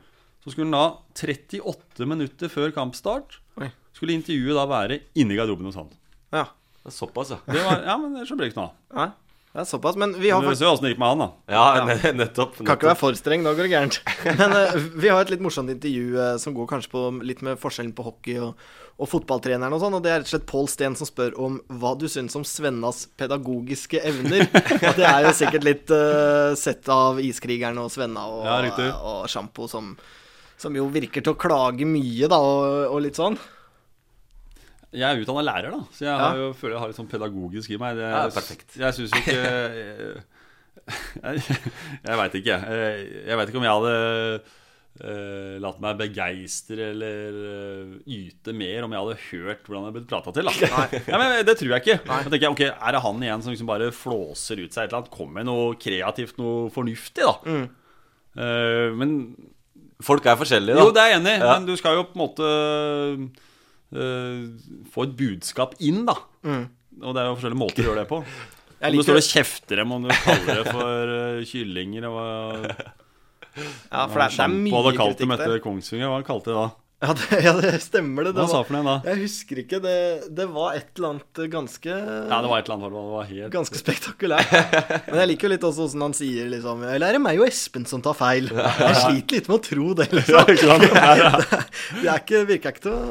H: så skulle han da 38 minutter før kampstart
G: Oi.
H: Skulle intervjuet da være inni garderoben hos han.
G: Ja.
B: Det er såpass, ja.
H: Det var, ja, men ellers så ble det ikke noe av.
G: Nei. Det er såpass, men vi har
H: Men Vi
G: faktisk
H: ser jo åssen det gikk med han, da.
B: Ja, ne- nettopp.
G: Kan ikke være
B: nettopp.
G: for streng, da går det gærent. Men eh, vi har et litt morsomt intervju eh, som går kanskje på litt med forskjellen på hockey og, og fotballtreneren og sånn, og det er rett og slett Pål Steen som spør om hva du syns om Svennas pedagogiske evner. Og det er jo sikkert litt eh, sett av Iskrigerne og Svenna og,
H: Ja, riktig.
G: og Sjampo som, som jo virker til å klage mye, da, og, og litt sånn.
H: Jeg er utdanna lærer, da, så jeg har jo, føler jeg har litt sånn pedagogisk i meg. Det,
B: Ja, perfekt.
H: Jeg syns jo ikke Jeg, jeg, jeg veit ikke, jeg. Eh, Jeg veit ikke om jeg hadde eh, latt meg begeistre eller eh, yte mer om jeg hadde hørt hvordan jeg ble prata til. Da. Ja, men eh, det tror jeg ikke. Da tenker jeg, ok, Er det han igjen som liksom bare flåser ut seg et eller annet? Kom med noe kreativt, noe fornuftig, da.
B: Mm.
H: Eh, men
B: Folk er forskjellige, da.
H: jo, det er jeg enig i,
B: Ja.
H: men du skal jo på en måte øh, få et budskap inn, da. Og det er jo forskjellige måter å gjøre det på. Om du
G: Mm. liker-
H: står og kjefter dem, om du kaller det for øh, kyllinger og hva
G: Ja, for det, er- det er
H: Sjampo
G: mye
H: hadde kalt dem
G: kritikk
H: etter
G: der.
H: Kongsvinger, hva han kalte de da?
G: Ja, det, ja, det stemmer det. det
H: Hva sa
G: var-
H: han for noe da?
G: Jeg husker ikke. Det, det var et eller annet ganske
H: Ja, det var et eller annet, det var helt
G: Ganske spektakulær. Men jeg liker jo litt også hvordan han sier liksom Eller er det meg og Espen som tar feil? Jeg sliter litt med å tro det, liksom.
H: ikke sant? Ja, ja.
G: Det er ikke, virker ikke til å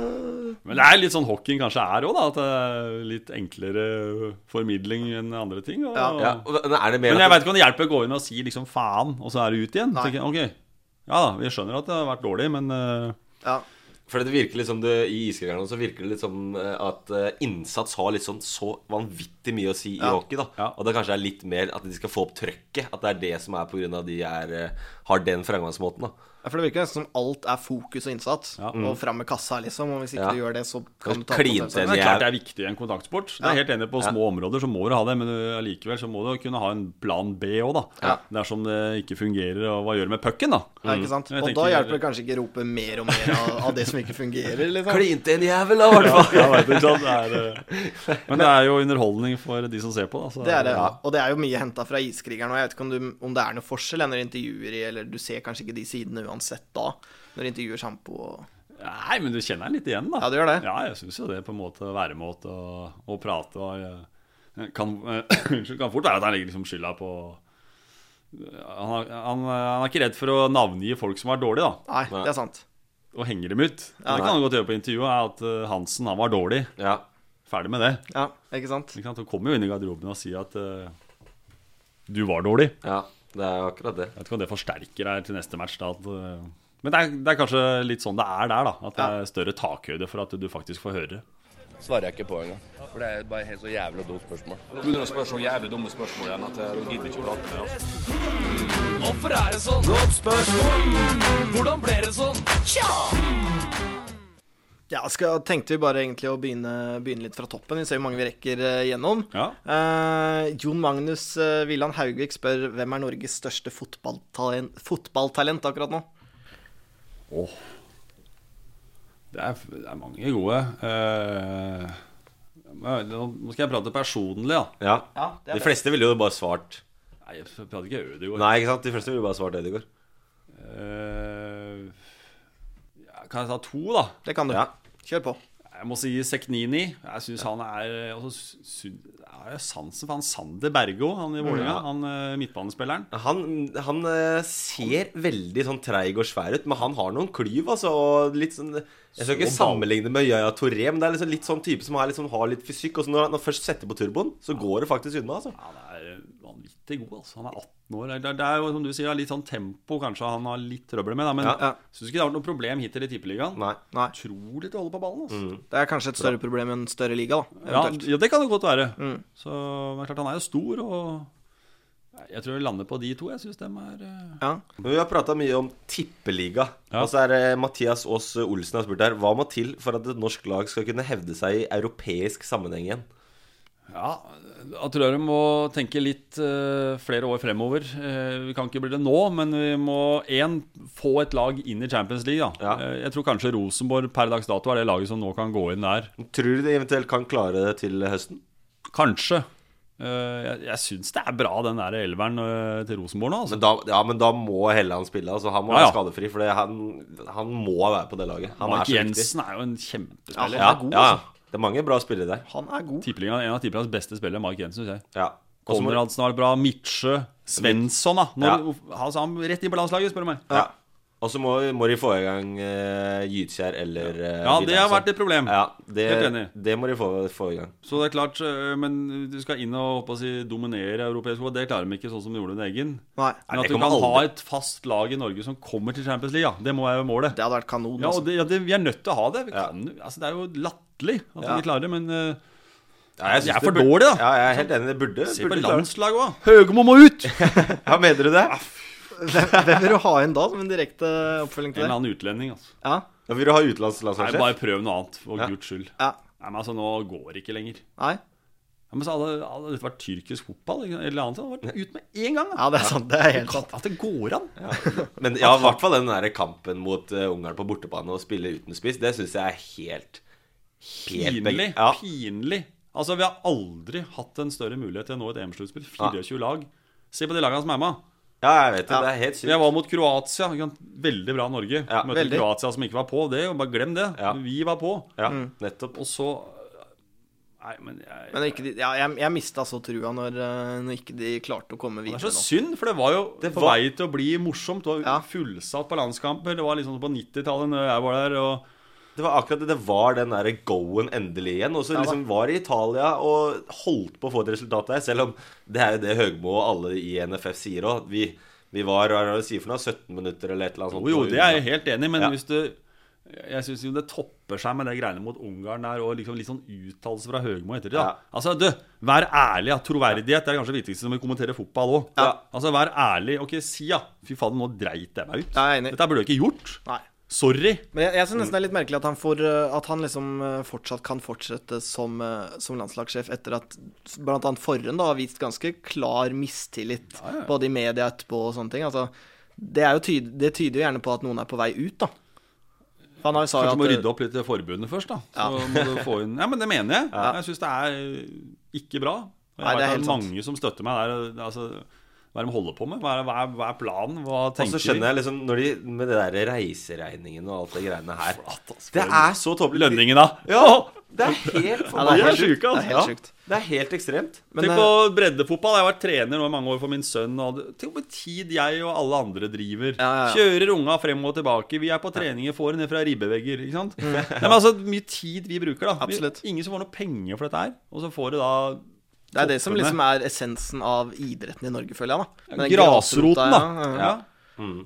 H: Men det er litt sånn hockeyen kanskje er òg, da. At det er litt enklere formidling enn andre ting. Og,
B: Ja, og da- er det mer at-
H: Men jeg veit ikke om det hjelper å gå inn og si liksom faen, og så er det ut igjen. Så tenker jeg, ok, ja da, vi skjønner at det har vært dårlig, men øh,
G: Ja.
B: For det virker litt som det, I iskrigerne så virker det litt som eh, at eh, innsats har litt sånn så vanvittig mye å si i hockey. da
H: Ja.
B: Og det kanskje er litt mer at de skal få opp trøkket. At det er det som er på grunn av de er, eh, har den fremgangsmåten. da
G: Ja, For det virker nesten som alt er fokus og innsats, og fram med kassa, liksom. Og hvis ikke
B: Ja.
G: du gjør det, så kan du ta
B: Klin
G: konsekvensen.
B: til
H: Men det er
B: Jeg-
H: klart det er viktig i en kontaktsport. Det er jeg helt enig i. På små områder så må du ha det, men øh, allikevel så må du kunne ha en plan B òg, da. Dersom det ikke fungerer, og hva gjør du med pucken, da?
G: Ja, ikke sant?
H: Mm. Jeg
G: Og da
H: tenker-
G: hjelper det kanskje ikke å rope mer og mer av, av det som ikke fungerer. Liksom.
B: Klin til en jævel, da, i hvert fall!
H: Ja, jeg vet ikke sant? Det er, øh, men det er jo underholdning for de som ser på, da. Så
G: Det er det, Og det er jo mye henta fra Iskrigeren. Og jeg vet ikke om, du, om det er noe forskjell når intervjuer i, eller du ser kanskje ikke de sidene uansett da, når intervjuer sjampo og
H: Nei, men du kjenner den litt igjen, da.
G: Ja, du gjør det.
H: Ja, jeg syns jo det, på en måte. Væremåte og, og prate og eh, kan, eh, Unnskyld, kan fort være at han legger liksom skylda på eh, han, er- han, er- han er ikke redd for å navngi folk som var dårlige, da,
G: Nei, det er sant.
H: og henger dem ut. det kan han godt gjøre på intervjuet, er at eh, Hansen han var dårlig.
B: Ja.
H: Ferdig med det.
G: Ja, ikke sant?
H: Ikke sant? Han kommer jo inn i garderoben og sier at eh, du var dårlig.
B: ja, det er jo akkurat det.
H: Jeg vet ikke om det forsterker deg til neste match. da at, eh, men det er, det er kanskje litt sånn det er der, da. At det er større takhøyde for at du faktisk får høre.
J: svarer jeg ikke på engang. For det er bare helt så jævlig dumt spørsmål.
C: altså.
G: Ja, skal, tenkte vi bare egentlig å begynne, begynne litt fra toppen. Vi ser hvor mange vi rekker eh, gjennom.
H: Ja.
G: Eh, Jon Magnus eh, Villand Haugvik spør hvem er Norges største fotballtalent, fotballtalent akkurat nå?
H: Åh. Det er, det er mange gode. Eh, men nå nå skal jeg prate personlig, da.
B: Ja.
G: det er
B: de fleste ville jo bare svart
H: Nei, jeg prater ikke Ødegaard.
B: Nei, ikke sant? De fleste ville bare svart Ødegaard.
H: Eh, ja, kan jeg ta to, da?
G: Det kan du.
B: Ja.
G: Kjør på.
H: Jeg må si Seknini. Jeg syns han er og så sy- Jeg har jo sansen for han Sander Bergo, han i Vålerenga. Han eh, midtbanespilleren.
B: Han, han eh, ser veldig sånn treig og svær ut, men han har noen klyv, altså. Og litt sånn Jeg skal ikke sammenligne med Yaya Toré, men det er liksom litt sånn type som er litt sånn- har litt fysikk. Og så når han når han først setter på turboen, så går det faktisk unna, altså.
H: Han er vanvittig god, altså. Han er 18 år. Det er, det er jo, som du sier, litt sånn tempo kanskje han har litt trøbbel med, da. Men
B: Ja, ja.
H: syns ikke det har vært noe problem hittil i Tippeligaen.
B: Nei.
G: Nei,
H: Utrolig til å holde på ballen, altså.
G: det er kanskje et større problem enn større liga, da.
H: Ja,
G: eventuelt.
H: ja, det kan det godt være. Så men klart, han er jo stor, og jeg tror jeg lander på de to. Jeg syns dem er eh,
G: Ja.
B: Men Vi har prata mye om tippeliga.
H: Ja.
B: Og så er det Mathias Aas Olsen har spurt her Hva må til for at et norsk lag skal kunne hevde seg i europeisk sammenheng igjen?
H: Ja, da tror jeg du må tenke litt eh, flere år fremover. Eh, vi kan ikke bli det nå, men vi må én få et lag inn i Champions League. Da.
B: Ja.
H: Eh, jeg tror kanskje Rosenborg per dags dato er det laget som nå kan gå inn der.
B: Tror du de eventuelt kan klare det til høsten?
H: Kanskje. Eh, jeg jeg syns det er bra, den der elveren eh, til Rosenborg nå. Altså.
B: Men da, ja, men da må Helland spille. Altså, han må
H: Ja, ja.
B: være skadefri, for det- han, han må være på det laget. Han er
H: Mark
B: så viktig.
H: Jensen altså. er jo en kjempespiller.
B: Ja, ja, ja. Det er mange bra spillere der.
G: Han er god.
H: Tippeligaen- En av tippeligaens beste spillere, Mark Jensen, syns jeg.
B: Ja.
H: Konradsen har vært bra. Midtsjø. Svensson, da. Nå, altså, han rett inn på landslaget, spør du meg.
B: Ja. Og så må, må de få i gang uh, Gytskjær eller eh,
H: Ja, det har
B: Vidar, altså.
H: vært et problem.
B: Ja, det,
H: Helt enig.
B: Det må de få, få i gang.
H: Så det er klart, øh, men du skal inn og håper å si, dominere europeisk fotball. Det klarer de ikke sånn som de gjorde med egen.
G: Nei.
H: Men
G: Nei, det
H: at du kan
G: kommer
H: ha
G: aldri.
H: et fast lag i Norge som kommer til Champions League, ja, det må være målet.
G: Det hadde vært kanon.
H: Ja,
G: altså.
H: og det, ja det, vi er nødt til å ha det. Vi kan, altså, det er jo latterlig at vi
G: Ja.
H: ikke klarer det, men øh,
B: jeg
H: de
B: synes
H: er for
B: det burde-
H: dårlige, da.
B: Ja, jeg er helt enig. Det burde
H: Se
B: burde
H: på
B: klare.
H: landslaget òg. Høgmo må ut!
B: ja, mener du det?
G: Hvem, hvem vil du ha inn da, som en direkte oppfølging
H: En
G: til
H: eller
G: det?
H: annen utlending, altså.
G: Ja.
B: Ja, vil du ha utenlandslandslagssjef?
H: Nei, bare prøv noe annet, for
B: Ja.
H: guds skyld.
G: Ja.
H: Nei, men altså, nå går det ikke lenger.
G: Nei.
H: Ja, men så hadde, hadde dette vært tyrkisk fotball ikke sant, eller annet, så hadde det vært ut med en gang. Da.
G: Ja, det er sant. Det er helt sant.
H: At det går an.
B: Men ja, i hvert fall den der kampen mot eh, Ungarn på bortebane og spille uten spiss, det syns jeg er helt, helt
H: Pinlig.
B: Ja.
H: Pinlig. Altså, vi har aldri hatt en større mulighet til å nå et EM-sluttspill. 24 lag. Se på de lagene som er med.
B: ja, jeg vet det. Det er helt sykt.
H: Jeg var mot Kroatia. ikke sant? Veldig bra Norge.
B: Ja,
H: Møtte
G: veldig.
H: Kroatia som ikke var på. Det, og bare glem det.
B: Ja.
H: Vi var på.
B: Ja, nettopp.
H: Og så eh, Nei, men jeg
G: Men ikke, de- ja, jeg, jeg mista så trua når, eh, når ikke de klarte å komme
H: Det er
G: videre
H: så
G: nå.
H: synd, for det var jo på
B: var-
H: vei til å bli morsomt. Det
G: Ja.
H: var fullsatt på landskamper. Det var liksom på 90-tallet når jeg var der. Og
B: Det var akkurat det. Det var den der go-en endelig igjen. Og så
G: da.
B: liksom var i Italia og holdt på å få et resultat der, selv om det er jo det Høgmo og alle i NFF sier òg. Vi, vi var hva er det de sier for noe, 17 minutter eller et eller annet
H: jo,
B: sånt.
H: jo, det er jeg helt enig i, men
B: Ja.
H: hvis du Jeg syns jo det topper seg med de greiene mot Ungarn der, og liksom litt sånn uttalelse fra Høgmo etter det. da.
B: Ja.
H: Altså, du, vær ærlig. Ja. Troverdighet det er kanskje det viktigste når vi kommenterer fotball òg.
G: Ja.
H: Altså, vær ærlig. Ok, si ja. Fy fader, nå dreit jeg meg ut.
G: Jeg er enig.
H: Dette burde jeg ikke gjort.
G: Nei.
H: Sorry.
G: Men jeg, jeg syns nesten det er litt merkelig at han, får, eh, at han liksom eh, fortsatt kan fortsette som, eh, som landslagssjef etter at bl.a. Forren da har vist ganske klar mistillit både i media etterpå og sånne ting. Altså, det, er jo tyd, det tyder jo gjerne på at noen er på vei ut, da. For Han har jo sa jo
H: Kanskje
G: at
H: må rydde opp litt i forbundet først, da. Så må du få inn Ja, men det mener jeg. Jeg syns det er eh, ikke bra. Og Jeg
G: Nei, det er
H: vet
G: helt
H: at mange som støtter meg der. Altså, hva er det de holder på med? Hva er, hva er, hva er planen? Hva
B: Og så
H: tenker de?
B: skjønner jeg liksom når de, Med det der reiseregningen og alt det greiene her
H: ass,
B: Det er så tåpelig.
H: Lønningen, da.
B: Ja, det er
G: eh,
B: helt
G: Ja, det er
B: forbanna
G: helt
H: De er
G: sjukt.
H: syke,
G: Det er
H: altså.
G: helt
B: Ja.
G: sjukt.
B: Det er helt ekstremt.
G: Men,
H: Tenk
G: eh,
H: på breddefotball. Jeg har vært trener nå i mange år for min sønn. Og det- tenk på tid jeg og alle andre driver.
G: Ja, ja, ja.
H: Kjører unga frem og tilbake. Vi er på treninger, får henne fra ribbevegger. Ikke sant? Nei, men altså, mye tid vi bruker, da.
G: Mm.
H: Vi-
G: Absolutt.
H: Ingen som får noe penger for dette her. Og så får du da
G: Det er det som
H: toppene.
G: liksom er essensen av idretten i Norge, føler jeg, da. Men den
H: Grasroten,
G: grasrota,
H: da.
G: ja, ja.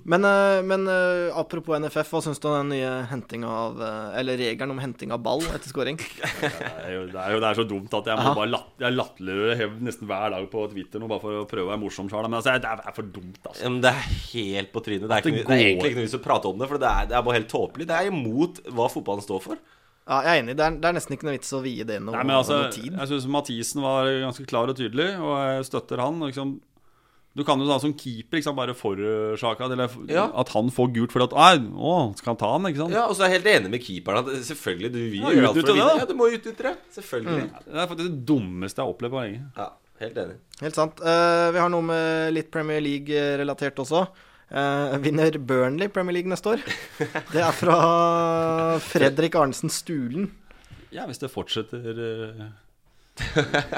G: Men, eh, men eh, apropos NFF, hva syns du om den nye hentinga av eh, Eller regelen om henting av ball etter scoring?
H: Det er, jo, det, er jo, det er så dumt at jeg må bare latt, jeg latterliggjør det nesten hver dag på Twitter nå, bare for å prøve å være morsom sjøl. Men altså, det er- det er for dumt, altså.
B: Ja, men det er helt på trynet. Det er,
H: det
B: ikke, noe- det er
H: går.
B: egentlig ikke noe vits å prate om det, for det er, det er bare helt tåpelig. Det er imot hva fotballen står for.
G: Ja, jeg er enig. Det er, det er nesten ikke noe vits å vie det noe,
H: Nei, men altså,
G: noe tid.
H: jeg syns Mathisen var ganske klar og tydelig, og jeg støtter han. og Liksom, du kan jo da som keeper ikke sant, bare forårsake at- eller f-
B: Ja.
H: at han får gult fordi at Nei, å, skal han ta han, ikke sant?
B: Ja, Og så er jeg helt enig med keeperen. At selvfølgelig, du vil
H: Ja,
B: gjøre alt for å
H: utnytte det,
B: vinne.
H: da. Mm.
B: Ja, du må utnytte det. Selvfølgelig.
H: Det er faktisk det dummeste jeg har opplevd på lenge.
B: Ja, helt enig.
G: Helt sant. Eh, vi har noe med litt Premier League-relatert også. Eh, vinner Burnley Premier League neste år? Det er fra Fredrik Arnesen Stulen.
H: Ja, hvis det fortsetter eh,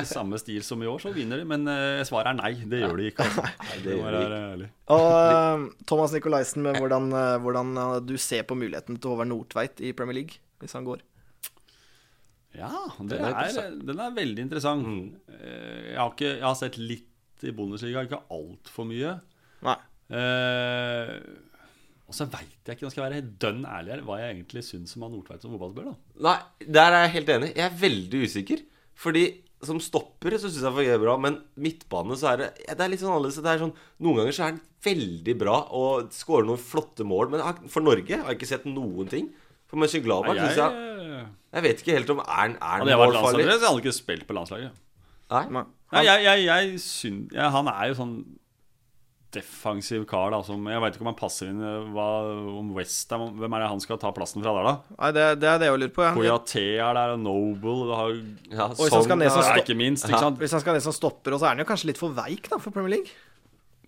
H: i samme stil som i år, så vinner de. Men eh, svaret er nei. Det gjør de ikke. Altså. Nei,
B: det
H: det
B: gjør
H: må
B: de
H: være ærlig.
G: Og eh, Thomas Nicolaisen med hvordan, eh, hvordan eh, du ser på muligheten til Håvard Nordtveit i Premier League, hvis han går.
H: Ja, det
B: er
H: er,
B: interessant.
H: den er veldig interessant.
G: Mm.
H: Eh, Jeg, har ikke, jeg har sett litt i Bundesliga, ikke altfor mye.
G: Nei.
H: Eh, og så veit jeg ikke, nå skal jeg være helt dønn ærlig her, hva jeg egentlig syns om han Nordtveit som fotballspiller. da
B: Nei, der er jeg helt enig. Jeg er veldig usikker. Fordi som stopper så syns jeg fungerer bra, men midtbane så er det ja, Det er litt sånn annerledes. Det er sånn, noen ganger så er han veldig bra og skårer noen flotte mål, men han- for Norge har jeg ikke sett noen ting. For Mönchenglaber syns jeg
H: jeg,
B: Jeg vet ikke helt om er han er
H: Hadde
B: han
H: jeg vært
B: målfarlig.
H: landslagsspiller, så hadde han ikke spilt på landslaget.
B: Nei.
H: Nei, jeg, jeg, jeg syn- ja, Han er jo sånn defensiv kar, da. Som, jeg veit ikke om han passer inn eh, hva, om Westham. Hvem er det han skal ta plassen fra der, da?
G: Nei, det, det er det jeg lurer på. Ja.
H: Koyate er der, og Noble og du har,
B: Ja, sånn.
G: hvis han
B: Sogn
G: skal ned, så
B: er-
H: ja,
G: stå-
H: Ikke minst, ikke sant?
G: Hvis han skal ned som stopper, og så er han jo kanskje litt for veik da, for Premier League.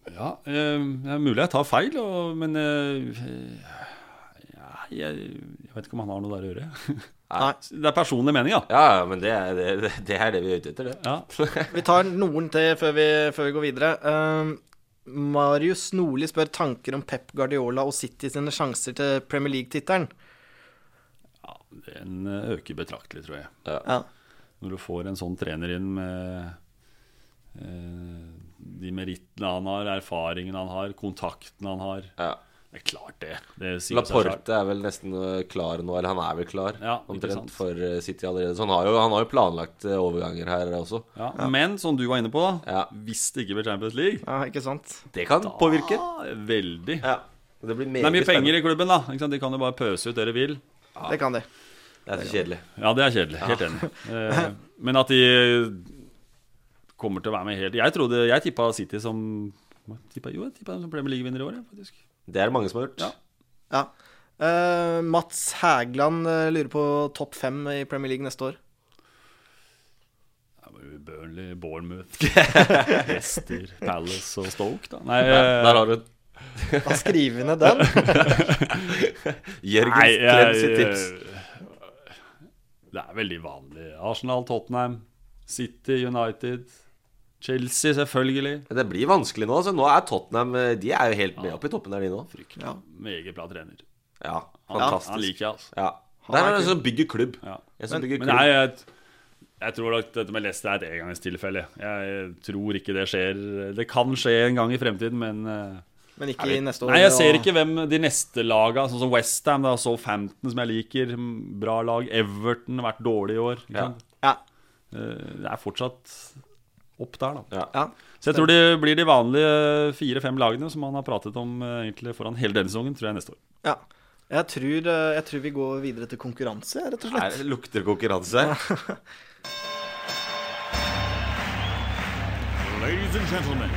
H: Ja, eh, det er mulig jeg tar feil, og, men eh, ja, jeg, jeg vet ikke om han har noe der å gjøre. Det er personlig mening, da.
B: Ja, ja, men det er det, det, er det vi er ute etter, det.
G: Vi tar noen til før vi, før vi går videre. Ehm, Marius Nordli spør tanker om Pep Guardiola og City sine sjanser til Premier League-tittelen.
H: Den eh, øker betraktelig, tror jeg.
G: Ja.
H: Når du får en sånn trener inn med eh, de merittene han har, erfaringen han har, kontakten han har. Det er klart, det. det sier seg selv.
B: Laporte er vel nesten eh, klar nå, eller han er vel klar
H: Ja, ikke sant.
B: omtrent for eh, City allerede. Så han har jo, han har jo planlagt eh, overganger her også.
H: Ja, Men som du var inne på, da, hvis det ikke blir Champions League Ah,
G: Ja, ikke sant?
B: Det kan påvirke.
H: Veldig.
B: Det blir
H: Det er mye
B: spennende.
H: penger i klubben, da. Ikke sant? De kan jo bare pøse ut det de vil.
G: Det kan de.
B: Det er så kjedelig.
H: Ja, det er kjedelig. Helt enig. Eh, men at de kommer til å være med helt Jeg trodde, jeg tippa City som tippa, Jo, jeg tippa dem som Premier League-vinner i år, jeg, faktisk.
B: Det er det mange som har gjort.
H: Ja.
G: Ja. Eh, Mats Hægland eh, lurer på topp fem i Premier League neste år.
H: Det var jo Burnley, Bournemouth, Leicester, Palace og Stoke, da. Nei, eh,
B: Der har du den.
G: Da skriver vi ned den.
B: Jørgen
H: nei,
B: Klem sitt
H: jeg-
B: tips.
H: Det er veldig vanlig. Arsenal, Tottenham, City, United, Chelsea, selvfølgelig.
B: Men Det blir vanskelig nå. altså Nå er Tottenham eh, De er jo helt med opp i toppen der, de nå.
H: Fryktelig. Meget bra trener.
B: Ja,
H: Han
B: fantastisk.
H: liker jeg, altså.
B: Ja. Der er
G: er
B: det en som bygger klubb.
H: Ja.
B: En som
H: Men,
B: bygger
H: men
B: klubb.
H: nei, jeg, jeg tror at dette med Leicester er et engangstilfelle. Jeg tror ikke det skjer. Det kan skje en gang i fremtiden, men eh,
G: Men ikke i neste år.
H: Nei, jeg
G: og-
H: ser ikke hvem de neste laga, sånn som Westham, Southampton, som jeg liker, m, bra lag. Everton har vært dårlig i år. ikke
B: Ja.
H: sant?
G: Ja.
H: Eh, Det er fortsatt opp der, da.
B: Ja.
G: ja.
H: Så jeg tror det blir de vanlige fire-fem lagene som han har pratet om eh, egentlig foran hele denne sesongen, tror jeg neste år.
G: ja. Jeg, tror, eh, jeg tror vi går videre til konkurranse, rett og slett.
B: Her lukter konkurranse.
K: Ladies and gentlemen,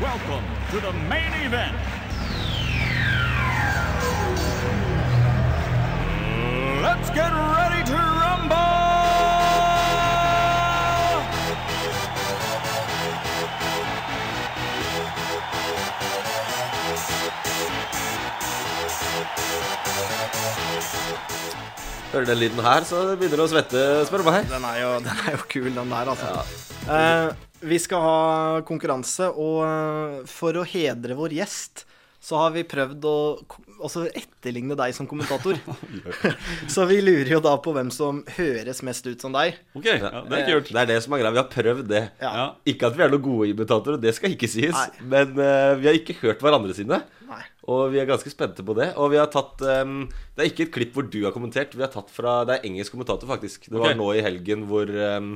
K: welcome to the main event. Let's get ready to rumble!
B: Hører du den lyden her, så begynner du å svette, spør du meg.
G: Den er jo, den er jo kul, den der, altså. Eh, vi skal ha konkurranse, og eh, for å hedre vår gjest, så har vi prøvd å ko- også etterligne deg som kommentator. så vi lurer jo da på hvem som høres mest ut som deg.
H: Ok, ja, Det er kult.
B: Det er det som er greia. Vi har prøvd det.
G: Ja.
H: Ja.
B: Ikke at vi er noen gode imitatorer, det skal ikke sies.
G: Nei.
B: Men eh, vi har ikke hørt hverandre sine.
G: Nei.
B: Og vi er ganske spente på det. Og vi har tatt ehm, Det er ikke et klipp hvor du har kommentert. Vi har tatt fra Det er engelsk kommentator, faktisk. Det var
H: Ok.
B: nå i helgen hvor ehm,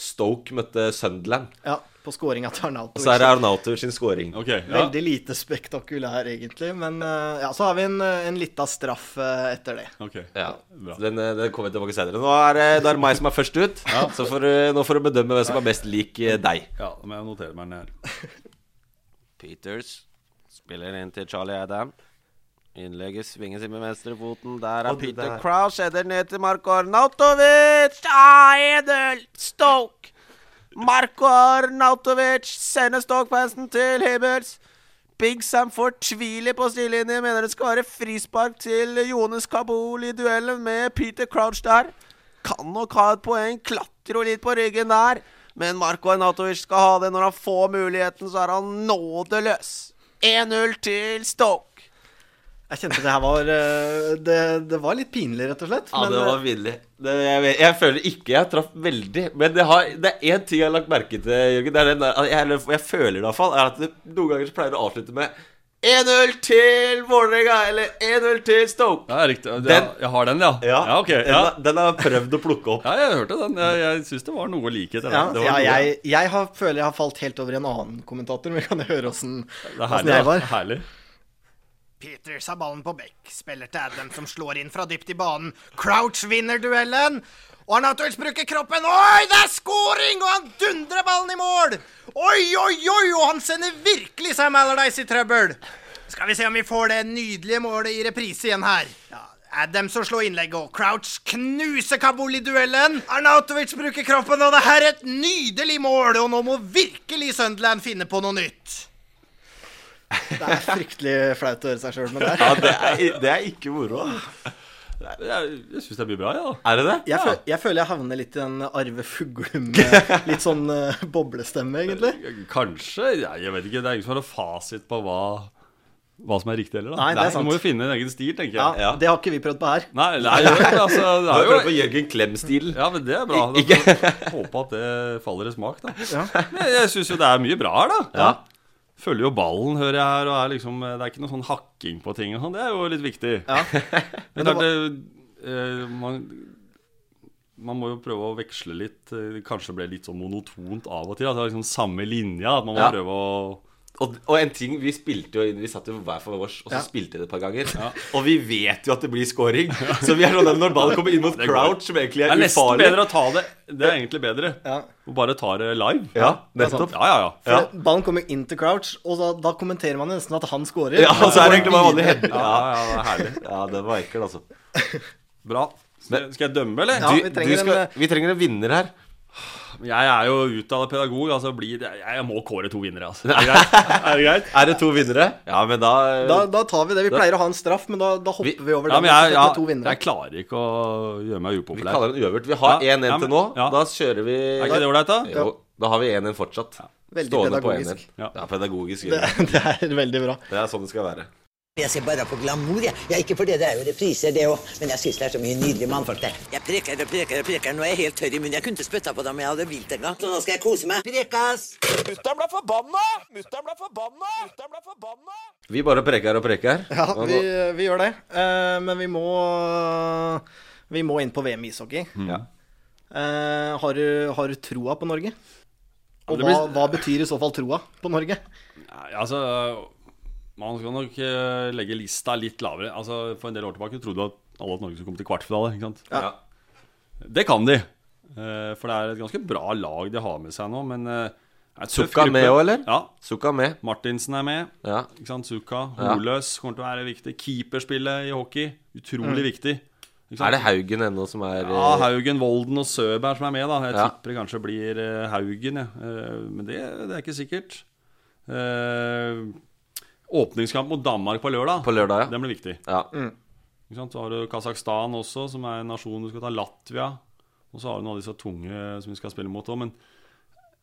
B: Stoke møtte Sunderland.
G: Ja, på scoringa til Arnauto.
B: Og så er det Arnautovic sin scoring.
H: Ok, ja.
G: Veldig lite spektakulær, egentlig, men eh, ja, så har vi en, en lita straff eh, etter det.
H: Ok.
B: Ja.
H: Bra.
B: Den, eh, den kommer vi tilbake senere. Nå er, eh, det- det er meg som er først ut. Så får, du- nå får du bedømme hvem som er mest lik eh, deg.
H: Ja, da må jeg notere meg den her.
B: Peters spiller inn til Charlie Adam. Innlegget svinges inn med venstrefoten. Der er Peter Crouch. Header ned til Marko Arnautovic. Ah, 1-0! Stoke! Marko Arnautovic sender Stoke-passen til Hibbels. Big Sam fortviler på stillelinjen. Mener det skal være frispark til Jones Kabul i duellen med Peter Crouch der. Kan nok ha et poeng. Klatrer jo litt på ryggen der. Men Marko Arnautovic skal ha det. Når han får muligheten, så er han nådeløs. 1-0 til Stoke.
G: Jeg kjente det her var eh, det, det var litt pinlig, rett og slett.
B: Ja,
G: men,
B: det
G: eh,
B: var villig. Det, jeg, vet- jeg føler ikke jeg traff veldig. Men det, har, det er én ting jeg har lagt merke til, Jørgen. Det er den der, at jeg, eller jeg føler det iallfall, er at det, noen ganger så pleier det å avslutte med 1-0 til Vålerenga, eller 1-0 til Stoke.
H: Ja, riktig. Ja,
B: Den-
H: jeg har den, ja. ja ok.
B: den,
H: Ja.
B: har- den har jeg prøvd å plukke opp.
H: Ja, jeg hørte den. Jeg, jeg syns det var noe likhet.
G: Ja,
H: eller? det
G: ja
H: var noe-
G: jeg, jeg har, føler jeg har falt helt over i en annen kommentator, men vi kan høre åssen
H: det er
G: jeg
H: herlig. da.
G: var.
H: Det er herlig.
L: Peters har ballen på bekk, spiller til Adam som slår inn fra dypt i banen. Crouch vinner duellen. Og Arnautovic bruker kroppen. Oi, det er scoring! Og han dundrer ballen i mål. Oi, oi, oi, og han sender virkelig Sam Allardyce i trøbbel. Skal vi se om vi får det nydelige målet i reprise igjen her. Ja, Adam som slår innlegget, og Crouch knuser Kabul i duellen. Arnautovic bruker kroppen, og det her er et nydelig mål. Og nå må virkelig Sunderland finne på noe nytt.
G: Det er fryktelig flaut å høre seg sjøl med det her.
B: Ja, det er, det er ikke moro.
H: Jeg syns det blir bra, ja.
B: Er det det?
G: Jeg, føl, jeg føler jeg havner litt i den Arve Fuglum Litt sånn eh, boblestemme, egentlig.
H: Kanskje? Ja, jeg vet ikke. Det er ingen som har noe fasit på hva, hva som er riktig heller. Da.
G: Nei, det er sant.
H: Du må jo finne en egen stil, tenker
G: Ja,
H: jeg.
G: Det har ikke vi prøvd på her.
H: Nei, nei, altså, det er jo
B: på Jørgen Klem-stil.
H: Ja, men det er bra. Da får vi Håpe at det faller i smak, da. Men jeg- jeg syns jo det er mye bra her, da. Følger jo ballen, hører jeg her, og er liksom, det er ikke noe sånn hakking på ting og sånn. Det er jo litt viktig. Men det, er det, eh, man, man må jo prøve å veksle litt. eh, Det kanskje ble litt sånn monotont av og til. At det er liksom samme linja. At man må
B: Ja.
H: prøve å
B: Og, og en ting, vi spilte jo inn- Vi satt jo hver for vårs, og så
H: Ja.
B: spilte vi det et par ganger. Og vi vet jo at det blir scoring, så vi er sånn at når ballen kommer inn mot
H: Det går.
B: Crouch, som egentlig er,
H: Det er nesten
B: ufarlig
H: bedre å ta det Det er egentlig bedre. Og bare ta det live.
B: Ja,
H: Det er sant.
B: nettopp.
H: Ja, ja, ja.
G: For Ballen kommer inn til Crouch, og da, da kommenterer man nesten at han scorer. Altså,
B: Ja,
G: og
B: så er det
G: går
B: egentlig bare vanlig
G: videre.
B: heading. Ja, ja, det er herlig. Ja, det var ekkelt, altså.
H: Bra. Skal skal jeg dømme, eller?
B: Ja, vi trenger Du- du skal- en-
G: eh,
B: vi trenger en vinner her.
H: Jeg er jo utdannet pedagog, altså blir, jeg, jeg må kåre to vinnere, altså. Er det greit? Er det, greit?
B: Er det to vinnere? Ja, men da
G: Da, da tar vi det. Vi
H: Da-
G: pleier å ha en straff, men da, da hopper vi, over
H: ja,
G: den.
H: men
G: og setter
H: jeg, ja,
G: med to vinnere.
H: jeg klarer ikke å gjøre meg upopulær.
B: Vi kaller den uøvert. Vi har 1-1
H: Ja, ja, men-
B: til nå. Da kjører vi
H: Er ikke det ålreit, da?
B: Jo, da har vi 1-1 fortsatt.
G: Veldig
B: Stående
G: pedagogisk.
B: på 1-1. Ja. pedagogisk.
G: Det,
B: Jørgen.
G: det er veldig bra.
B: Det er sånn det skal være.
M: Jeg ser bare på glamour, jeg. Ja, ikke fordi det er jo repriser, det òg. Men jeg syns det er så mye nydelige mannfolk der. Jeg preker og preker og preker. Nå er jeg helt tørr i munnen. Jeg kunne ikke spytta på dem om jeg hadde vilt engang. Så nå skal jeg kose meg. Prekas! Mutter'n ble forbanna! Mutter'n ble forbanna! Mutter'n ble forbanna!
B: Vi bare preker og preker.
G: Ja,
B: Og nå-
G: vi, vi gjør det. Eh, men vi må Vi må inn på VM i ishockey.
H: Mm.
B: Ja.
G: Eh, har, du, har du troa på Norge? Og
H: Ja, men det
G: hva,
H: blir-
G: hva betyr i så fall troa på Norge?
H: Nei, altså Man skal nok eh, legge lista litt lavere. Altså, for en del år tilbake trodde at alle at Norge skulle komme til kvartfinale. Ikke sant?
G: Ja.
H: Det kan de. Eh, For det er et ganske bra lag de har med seg nå, men eh, det er et tøff
B: Sukka
H: gruppe.
B: med òg, eller?
H: Ja.
B: Sukka med.
H: Martinsen er med. Ikke sant? Sukka.
B: Ja.
H: Holøs kommer til å være viktig. Keeperspillet i hockey, utrolig
B: Mm.
H: viktig. Ikke sant?
B: Er det Haugen ennå som er eh,
H: Ja, Haugen, Volden og Søberg som er med, da. Jeg
B: Ja.
H: tipper det kanskje blir eh, Haugen, ja. Eh, men det, det er ikke sikkert. Eh, åpningskamp mot Danmark på lørdag.
B: På lørdag, ja.
H: Den blir viktig.
G: Mm.
H: Ikke sant? Så har du Kasakhstan også, som er en nasjon du skal ta Latvia. Og så har du noen av disse tunge som vi skal spille mot òg. Men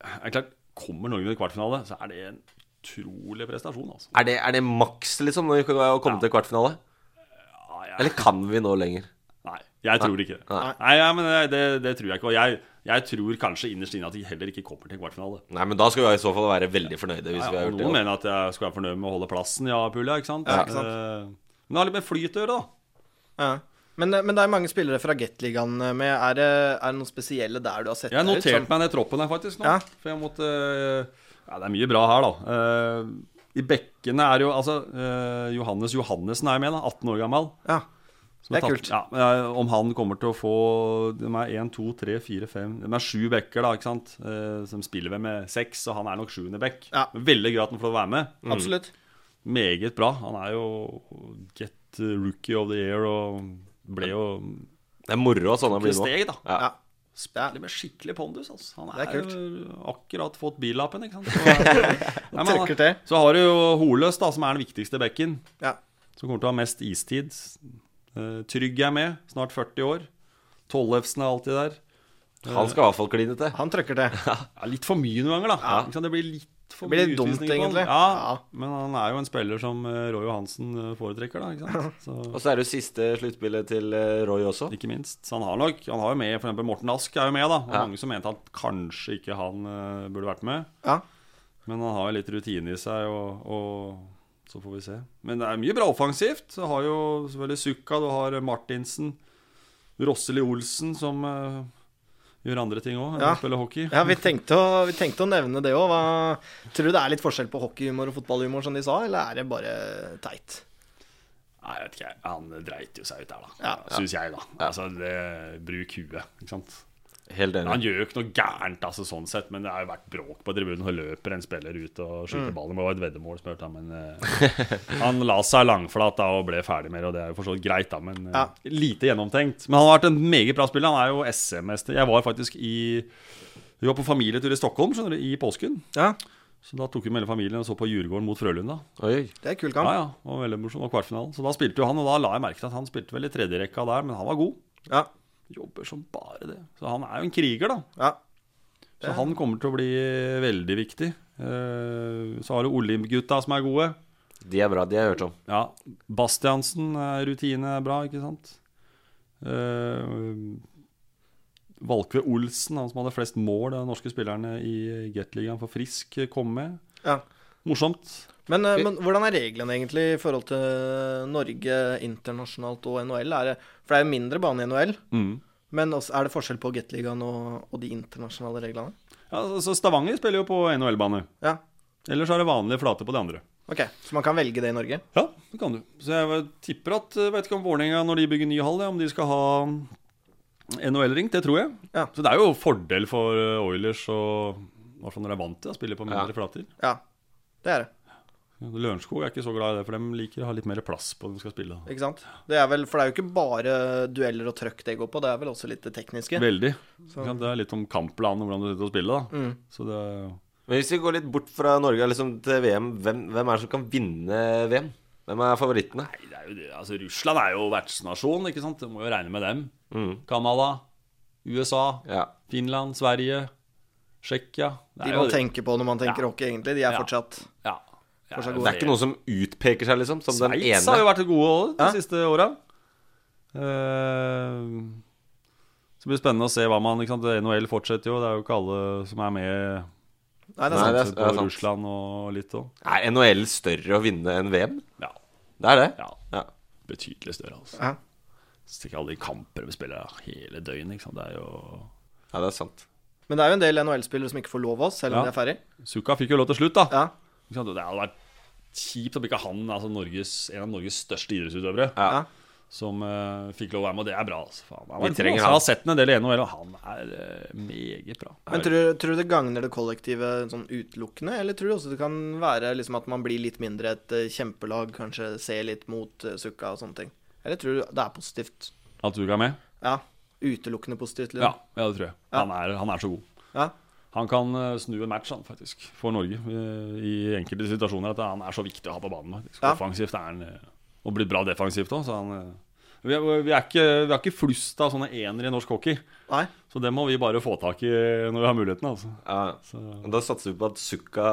H: eh, klart, kommer Norge til kvartfinale, så er det en utrolig prestasjon, altså.
B: Er det, er det maks, liksom, når vi kan- å komme til kvartfinale? Eller kan vi nå lenger?
H: Nei, jeg tror ikke det. Nei,
B: Nei.
H: ja, men det, det, det tror jeg ikke. Og jeg, jeg tror kanskje innerst inne at de heller ikke kommer til kvartfinale.
B: Nei, men da skal vi i så fall være veldig fornøyde. Hvis
H: Ja,
B: vi har
H: og
B: gjort det
H: noen mener at jeg skal være fornøyd med å holde plassen i A-pulja, ikke sant?
G: Ja, ikke sant.
H: Eh, Men det har litt med flyt å gjøre, da.
G: Ja. Men, eh, men det er mange spillere fra Gateligaen med. Er det, er det noen spesielle der du har sett
H: Jeg
G: deg ut
H: noterte
G: som-
H: meg ned troppen her faktisk nå.
G: Ja.
H: For jeg måtte eh, Ja, det er mye bra her, da. Eh, I bekkene er jo Altså, eh, Johannes Johannessen er med, da. 18 år gammel.
G: Ja. Det
H: Som er
G: er
H: tatt-
G: kult.
H: Ja, men, eh, om han kommer til å få De er 1, 2, 3, 4, 5 De er sju bekker, da, ikke sant? Eh, som spiller ved med seks, og han er nok sjuende bekk. Veldig gøy at han får være med.
G: Mm. Absolutt.
H: Meget bra. Han er jo get eh, rookie of the year og ble jo
B: Det er moro at sånne blir nå.
H: Steg, da.
B: Ja. Ja.
H: Spiller med skikkelig pondus, altså. Han
G: Det er
H: er
G: kult.
H: jo akkurat fått billappen, ikke sant. Så, eh, Nei, men han-
G: Trykker til.
H: så har du jo Holøs, da, som er den viktigste bekken.
G: Ja.
H: Som kommer til å ha mest istid. Eh, Trygg er med, snart 40 år. Tollefsen er alltid der.
B: Han skal i hvert fall kline til.
G: Han trøkker til.
H: Ja, litt for mye noen ganger, da. Ikke sant? Det blir litt for
G: Det blir
H: mye
G: dumt,
H: utvisninger på han.
G: egentlig.
H: Ja, Men han er jo en spiller som eh, Roy Johansen eh, foretrekker, da. Ikke sant?
B: Og så er det jo siste sluttspillet til eh, Roy også.
H: Ikke minst. Så han har nok Han har jo med f.eks. Morten Ask er jo med, da. Og
B: Ja.
H: mange som mente at kanskje ikke han eh, burde vært med.
G: Ja.
H: Men han har jo litt rutine i seg, og, og så får vi se. Men det er mye bra offensivt. Du har jo selvfølgelig Sukka, du har Martinsen, Rosseli Olsen som eh, gjør andre ting òg.
G: Ja.
H: Spiller hockey.
G: Ja, vi tenkte, å, vi tenkte å nevne det òg. Tror du det er litt forskjell på hockeyhumor og fotballhumor, som de sa, eller er det bare teit?
H: Nei, jeg vet ikke, jeg. han dreit jo seg ut der, da. Syns jeg, da. Altså, det, bruk huet, ikke sant.
B: Helt enig.
H: Han gjør jo ikke noe gærent, altså, sånn sett, men det har jo vært bråk på tribunen. Og løper en spiller ut og skyter
B: Mm.
H: ballen. Det var et veddemål, spurte han, men eh, han la seg langflat da og ble ferdig med det. Og det er jo for så vidt greit, da, men eh,
B: Ja.
H: lite gjennomtenkt. Men han har vært en meget bra spiller. Han er jo SM-mester. Jeg var faktisk i Vi var på familietur i Stockholm skjønner du, i påsken. Så da tok vi med hele familien og så på Djurgården mot Frølunda.
G: Det er kul kamp.
H: Ja, ja, det var veldig morsomt. Det var kvartfinalen. Så da spilte jo han, og da la jeg merke til at han spilte vel i tredjerekka der, men han var god.
G: Ja.
H: Jobber som bare det. Så han er jo en kriger, da.
G: Det-
H: Så han kommer til å bli veldig viktig. Eh, Så har du Olimp-gutta som er gode.
B: De er bra, de har jeg hørt om.
H: Ja. Bastiansen, eh, rutine er bra, ikke sant? Eh, Valkve Olsen, han som hadde flest mål av de norske spillerne i Gateligaen for Frisk, kom med.
G: Ja.
H: Morsomt.
G: Men, eh, men hvordan er reglene egentlig i forhold til eh, Norge internasjonalt og NHL? Er det, for det er jo mindre bane i NHL.
H: Mm.
G: Men også, er det forskjell på Gateligaen og, og de internasjonale reglene?
H: Ja, så Stavanger spiller jo på NHL-bane.
G: Ja.
H: Ellers er det vanlige flate på de andre.
G: Ok, Så man kan velge det i Norge?
H: Ja, det kan du. Så jeg tipper at eh, Vet ikke om Vålerenga, når de bygger ny hall, ja, om de skal ha mm, NHL-ring. Det tror jeg. Så det er jo fordel for eh, Oilers og i hvert fall når de er vant til å spille på mindre flater.
G: Ja, det er det.
H: Ja, Lørenskog er ikke så glad i det, for de liker å ha litt mer plass på når de skal spille.
G: Ikke sant? Det er vel, for det er jo ikke bare dueller og trøkk det går på, det er vel også litt det tekniske.
H: Veldig.
G: Så-
H: Ikke sant? Det er litt om kampplanen og hvordan du sitter og spiller. Da.
G: Mm.
H: Så det er
B: Men hvis vi går litt bort fra Norge liksom til VM, hvem, hvem er det som kan vinne VM? Hvem er favorittene?
H: Nei, det er jo det. Altså, Russland er jo vertsnasjon, ikke sant? Du må jo regne med dem.
G: Mm.
H: Canada, USA, Finland, Sverige, Tsjekkia. Det er
G: De
H: jo
G: man
H: det.
G: tenker på når man tenker
H: Ja.
G: hockey, egentlig. De er
H: Ja.
G: fortsatt,
H: Ja.
G: fortsatt
B: Det
G: gode.
B: er ikke noen som utpeker seg, liksom? Som den ene?
H: Sveits har jo vært gode også de
G: Ja.
H: siste åra. Eh, så blir det spennende å se hva man ikke sant? NHL fortsetter jo, det er jo ikke alle som er med.
G: Nei, det er
B: sant. Nei,
H: På
B: det er- det er sant.
H: Russland og litt òg.
B: Er NHL større å vinne enn VM?
H: Ja.
B: Det er det?
H: Ja. Betydelig større, altså.
G: Ja.
H: Stikker alle de kamper vi spiller hele døgnet, ikke sant. Det er jo
B: Ja, det er sant.
G: Men det er jo en del NHL-spillere som ikke får lov av oss, selv om de
H: Ja.
G: er ferdig.
H: Suka fikk jo lov til slutt, da. Ikke sant? Det hadde vært kjipt om ikke han, altså Norges, en av Norges største idrettsutøvere, som eh, fikk lov å være med, og det er bra. Altså. Faen, han
B: Vi
H: er god,
B: trenger han.
H: altså. Jeg har sett ham en del i NHL, og han er eh, meget bra.
G: Men tror, du- tror du det gagner det kollektive sånn utelukkende, eller tror du også det kan være liksom at man blir litt mindre et eh, kjempelag, kanskje ser litt mot eh, Sukka og sånne ting? Eller tror du det er positivt?
H: At Suka er med?
G: Ja. Utelukkende positivt,
H: Ja,
G: liksom.
H: ja det tror jeg.
G: Ja.
H: Han, er, han er så god.
G: Ja.
H: Han kan eh, snu en match, han, faktisk, for Norge, eh, i enkelte situasjoner. At han er så viktig å ha på banen. Faktisk.
G: Ja.
H: Offensivt er han eh, Og blitt bra defensivt òg, så han eh, vi er, vi, er ikke, vi er ikke flust av sånne enere i norsk hockey.
G: Nei.
H: Så det må vi bare få tak i når vi har muligheten. Altså.
B: Og Da satser vi på at Sukka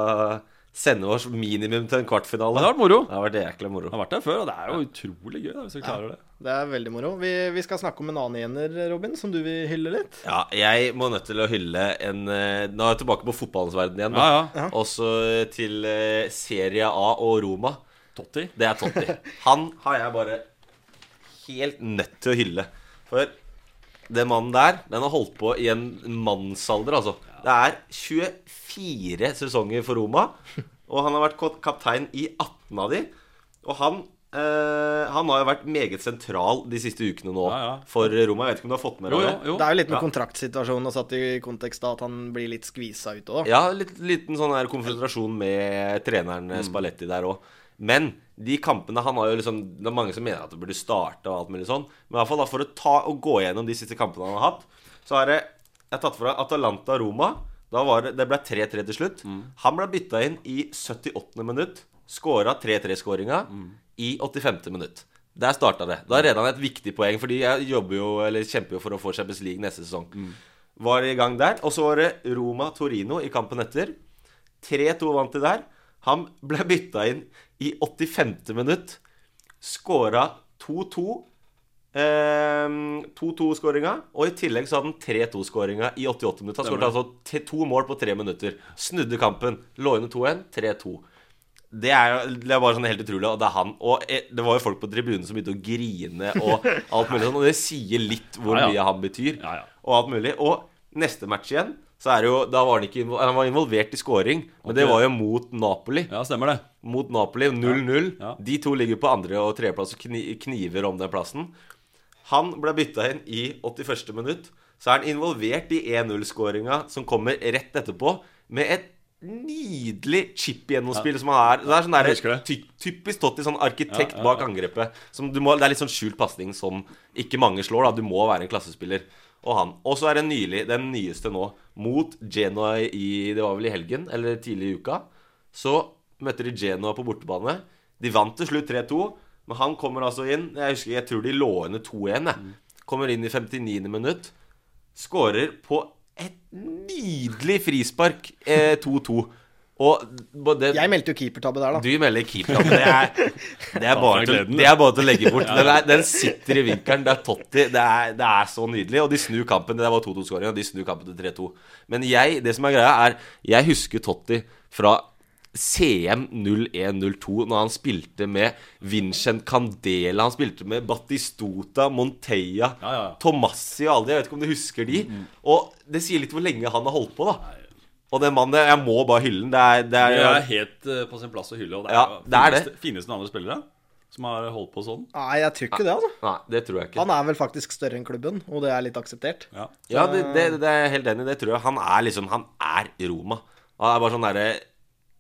B: sender oss minimum til en kvartfinale.
H: Det har vært moro.
B: Det har vært jækla moro.
H: har vært der før, og det er jo utrolig gøy hvis vi klarer det.
G: Det er veldig moro. Vi, vi skal snakke om en annen ener, Robin, som du vil hylle litt.
B: Ja, jeg må nødt til å hylle en eh, Nå er jeg tilbake på fotballens verden igjen. Da.
G: Ja, ja.
B: Også til eh, Serie A og Roma.
H: Totti?
B: Det er Totti. Han har jeg bare helt nødt til å hylle. For den mannen der, den har holdt på i en mannsalder, altså. Det er 24 sesonger for Roma, og han har vært kap- kaptein i 18 av de. Og han, eh, han har jo vært meget sentral de siste ukene nå for Roma. Jeg vet ikke om du har fått med deg det?
G: Det er jo litt med
B: Ja.
G: kontraktsituasjonen og satt i kontekst da, at han blir litt skvisa ut òg.
B: Ja, litt, liten sånn her konfrontasjon med treneren eh, Spalletti der òg. Men de kampene han har jo liksom Det er mange som mener at det burde starte og alt mulig sånn. Men i hvert fall da for å ta og gå gjennom de siste kampene han har hatt, så er det Jeg har tatt fra Atalanta-Roma. Da var det, det ble 3-3 til slutt. Han ble bytta inn i 78. minutt. Skåra 3-3-skåringa i 85. minutt. Der starta det. Da redda han et viktig poeng, fordi jeg jobber jo, eller kjemper jo for å få Champions League neste sesong var i gang der. Og så var det Roma-Torino i kampen etter. 3-2 vant de der. Han ble bytta inn i 85. minutt. Skåra 2-2. ehm, 2-2-skåringa. Og i tillegg så hadde han 3-2-skåringa i 88 minutter. Han skåret
H: Stemmer.
B: altså t- to mål på tre minutter. Snudde kampen. Lå under 2-1. 3-2. Det er, jo- det er bare sånn helt utrolig. Og det er han Og eh, det var jo folk på tribunen som begynte å grine og alt mulig sånn. Og det sier litt hvor
H: Ja, ja.
B: mye han betyr og alt mulig. Og neste match igjen, så er det jo Da var han ikke invo- Han var involvert i scoring, men
H: Ok.
B: det var jo mot Napoli.
H: Ja, stemmer det.
B: Mot Napoli, 0-0. De to ligger på andre- og tredjeplass og kni kniver om den plassen. Han ble bytta inn i 81. minutt. Så er han involvert i 1-0-skåringa som kommer rett etterpå, med et nydelig chip-gjennomspill
H: Ja.
B: som han er. Det er sånn
H: Jeg
B: der,
H: husker det.
B: ty typisk Totti, sånn arkitekt
H: Ja, ja, ja.
B: bak angrepet. Som du må, det er litt sånn skjult pasning som ikke mange slår. da Du må være en klassespiller. Og han. Og så er det nylig den nyeste nå, mot Genoa i Det var vel i helgen, eller tidlig i uka. Så møtte de Genoa på bortebane. De vant til slutt 3-2, men han kommer altså inn Jeg husker, jeg tror de lå under 2-1. jeg. Kommer inn i 59. minutt, skårer på et nydelig frispark eh, 2-2. Og både- det,
G: Jeg meldte jo keepertabbe der, da.
B: du melder keeper, men det er, det, er bare
G: Ta fra
B: til,
G: gleden,
B: det er bare til å legge bort.
G: Ja.
B: Den, er, den sitter i vinkelen. Det er Totti. Det er, det er så nydelig. Og de snur kampen. Det der var 2-2-skåringa. De snur kampen til 3-2. Men jeg, det som er greia, er Jeg husker Totti fra CM 0102, når han spilte med Vincent Candela, han spilte med Batistota, Monteia, Tomassi og alle de. Jeg vet ikke om du husker de? Og det sier litt hvor lenge han har holdt på, da. Og den mannen, jeg må bare hylle den. Det er, det er,
H: Det er helt eh, på sin plass å hylle. Og det er,
B: Ja,
H: jo
B: det er det.
H: fineste- Finnes det noen andre spillere som har holdt på sånn?
G: Nei, jeg tror ikke det, altså.
B: Nei, det tror jeg ikke.
G: Han er vel faktisk større enn klubben, og det er litt akseptert.
H: Ja,
B: Ja, det, det, det er jeg helt enig i. Det tror jeg. Han er liksom Han er Roma. Han er bare sånn derre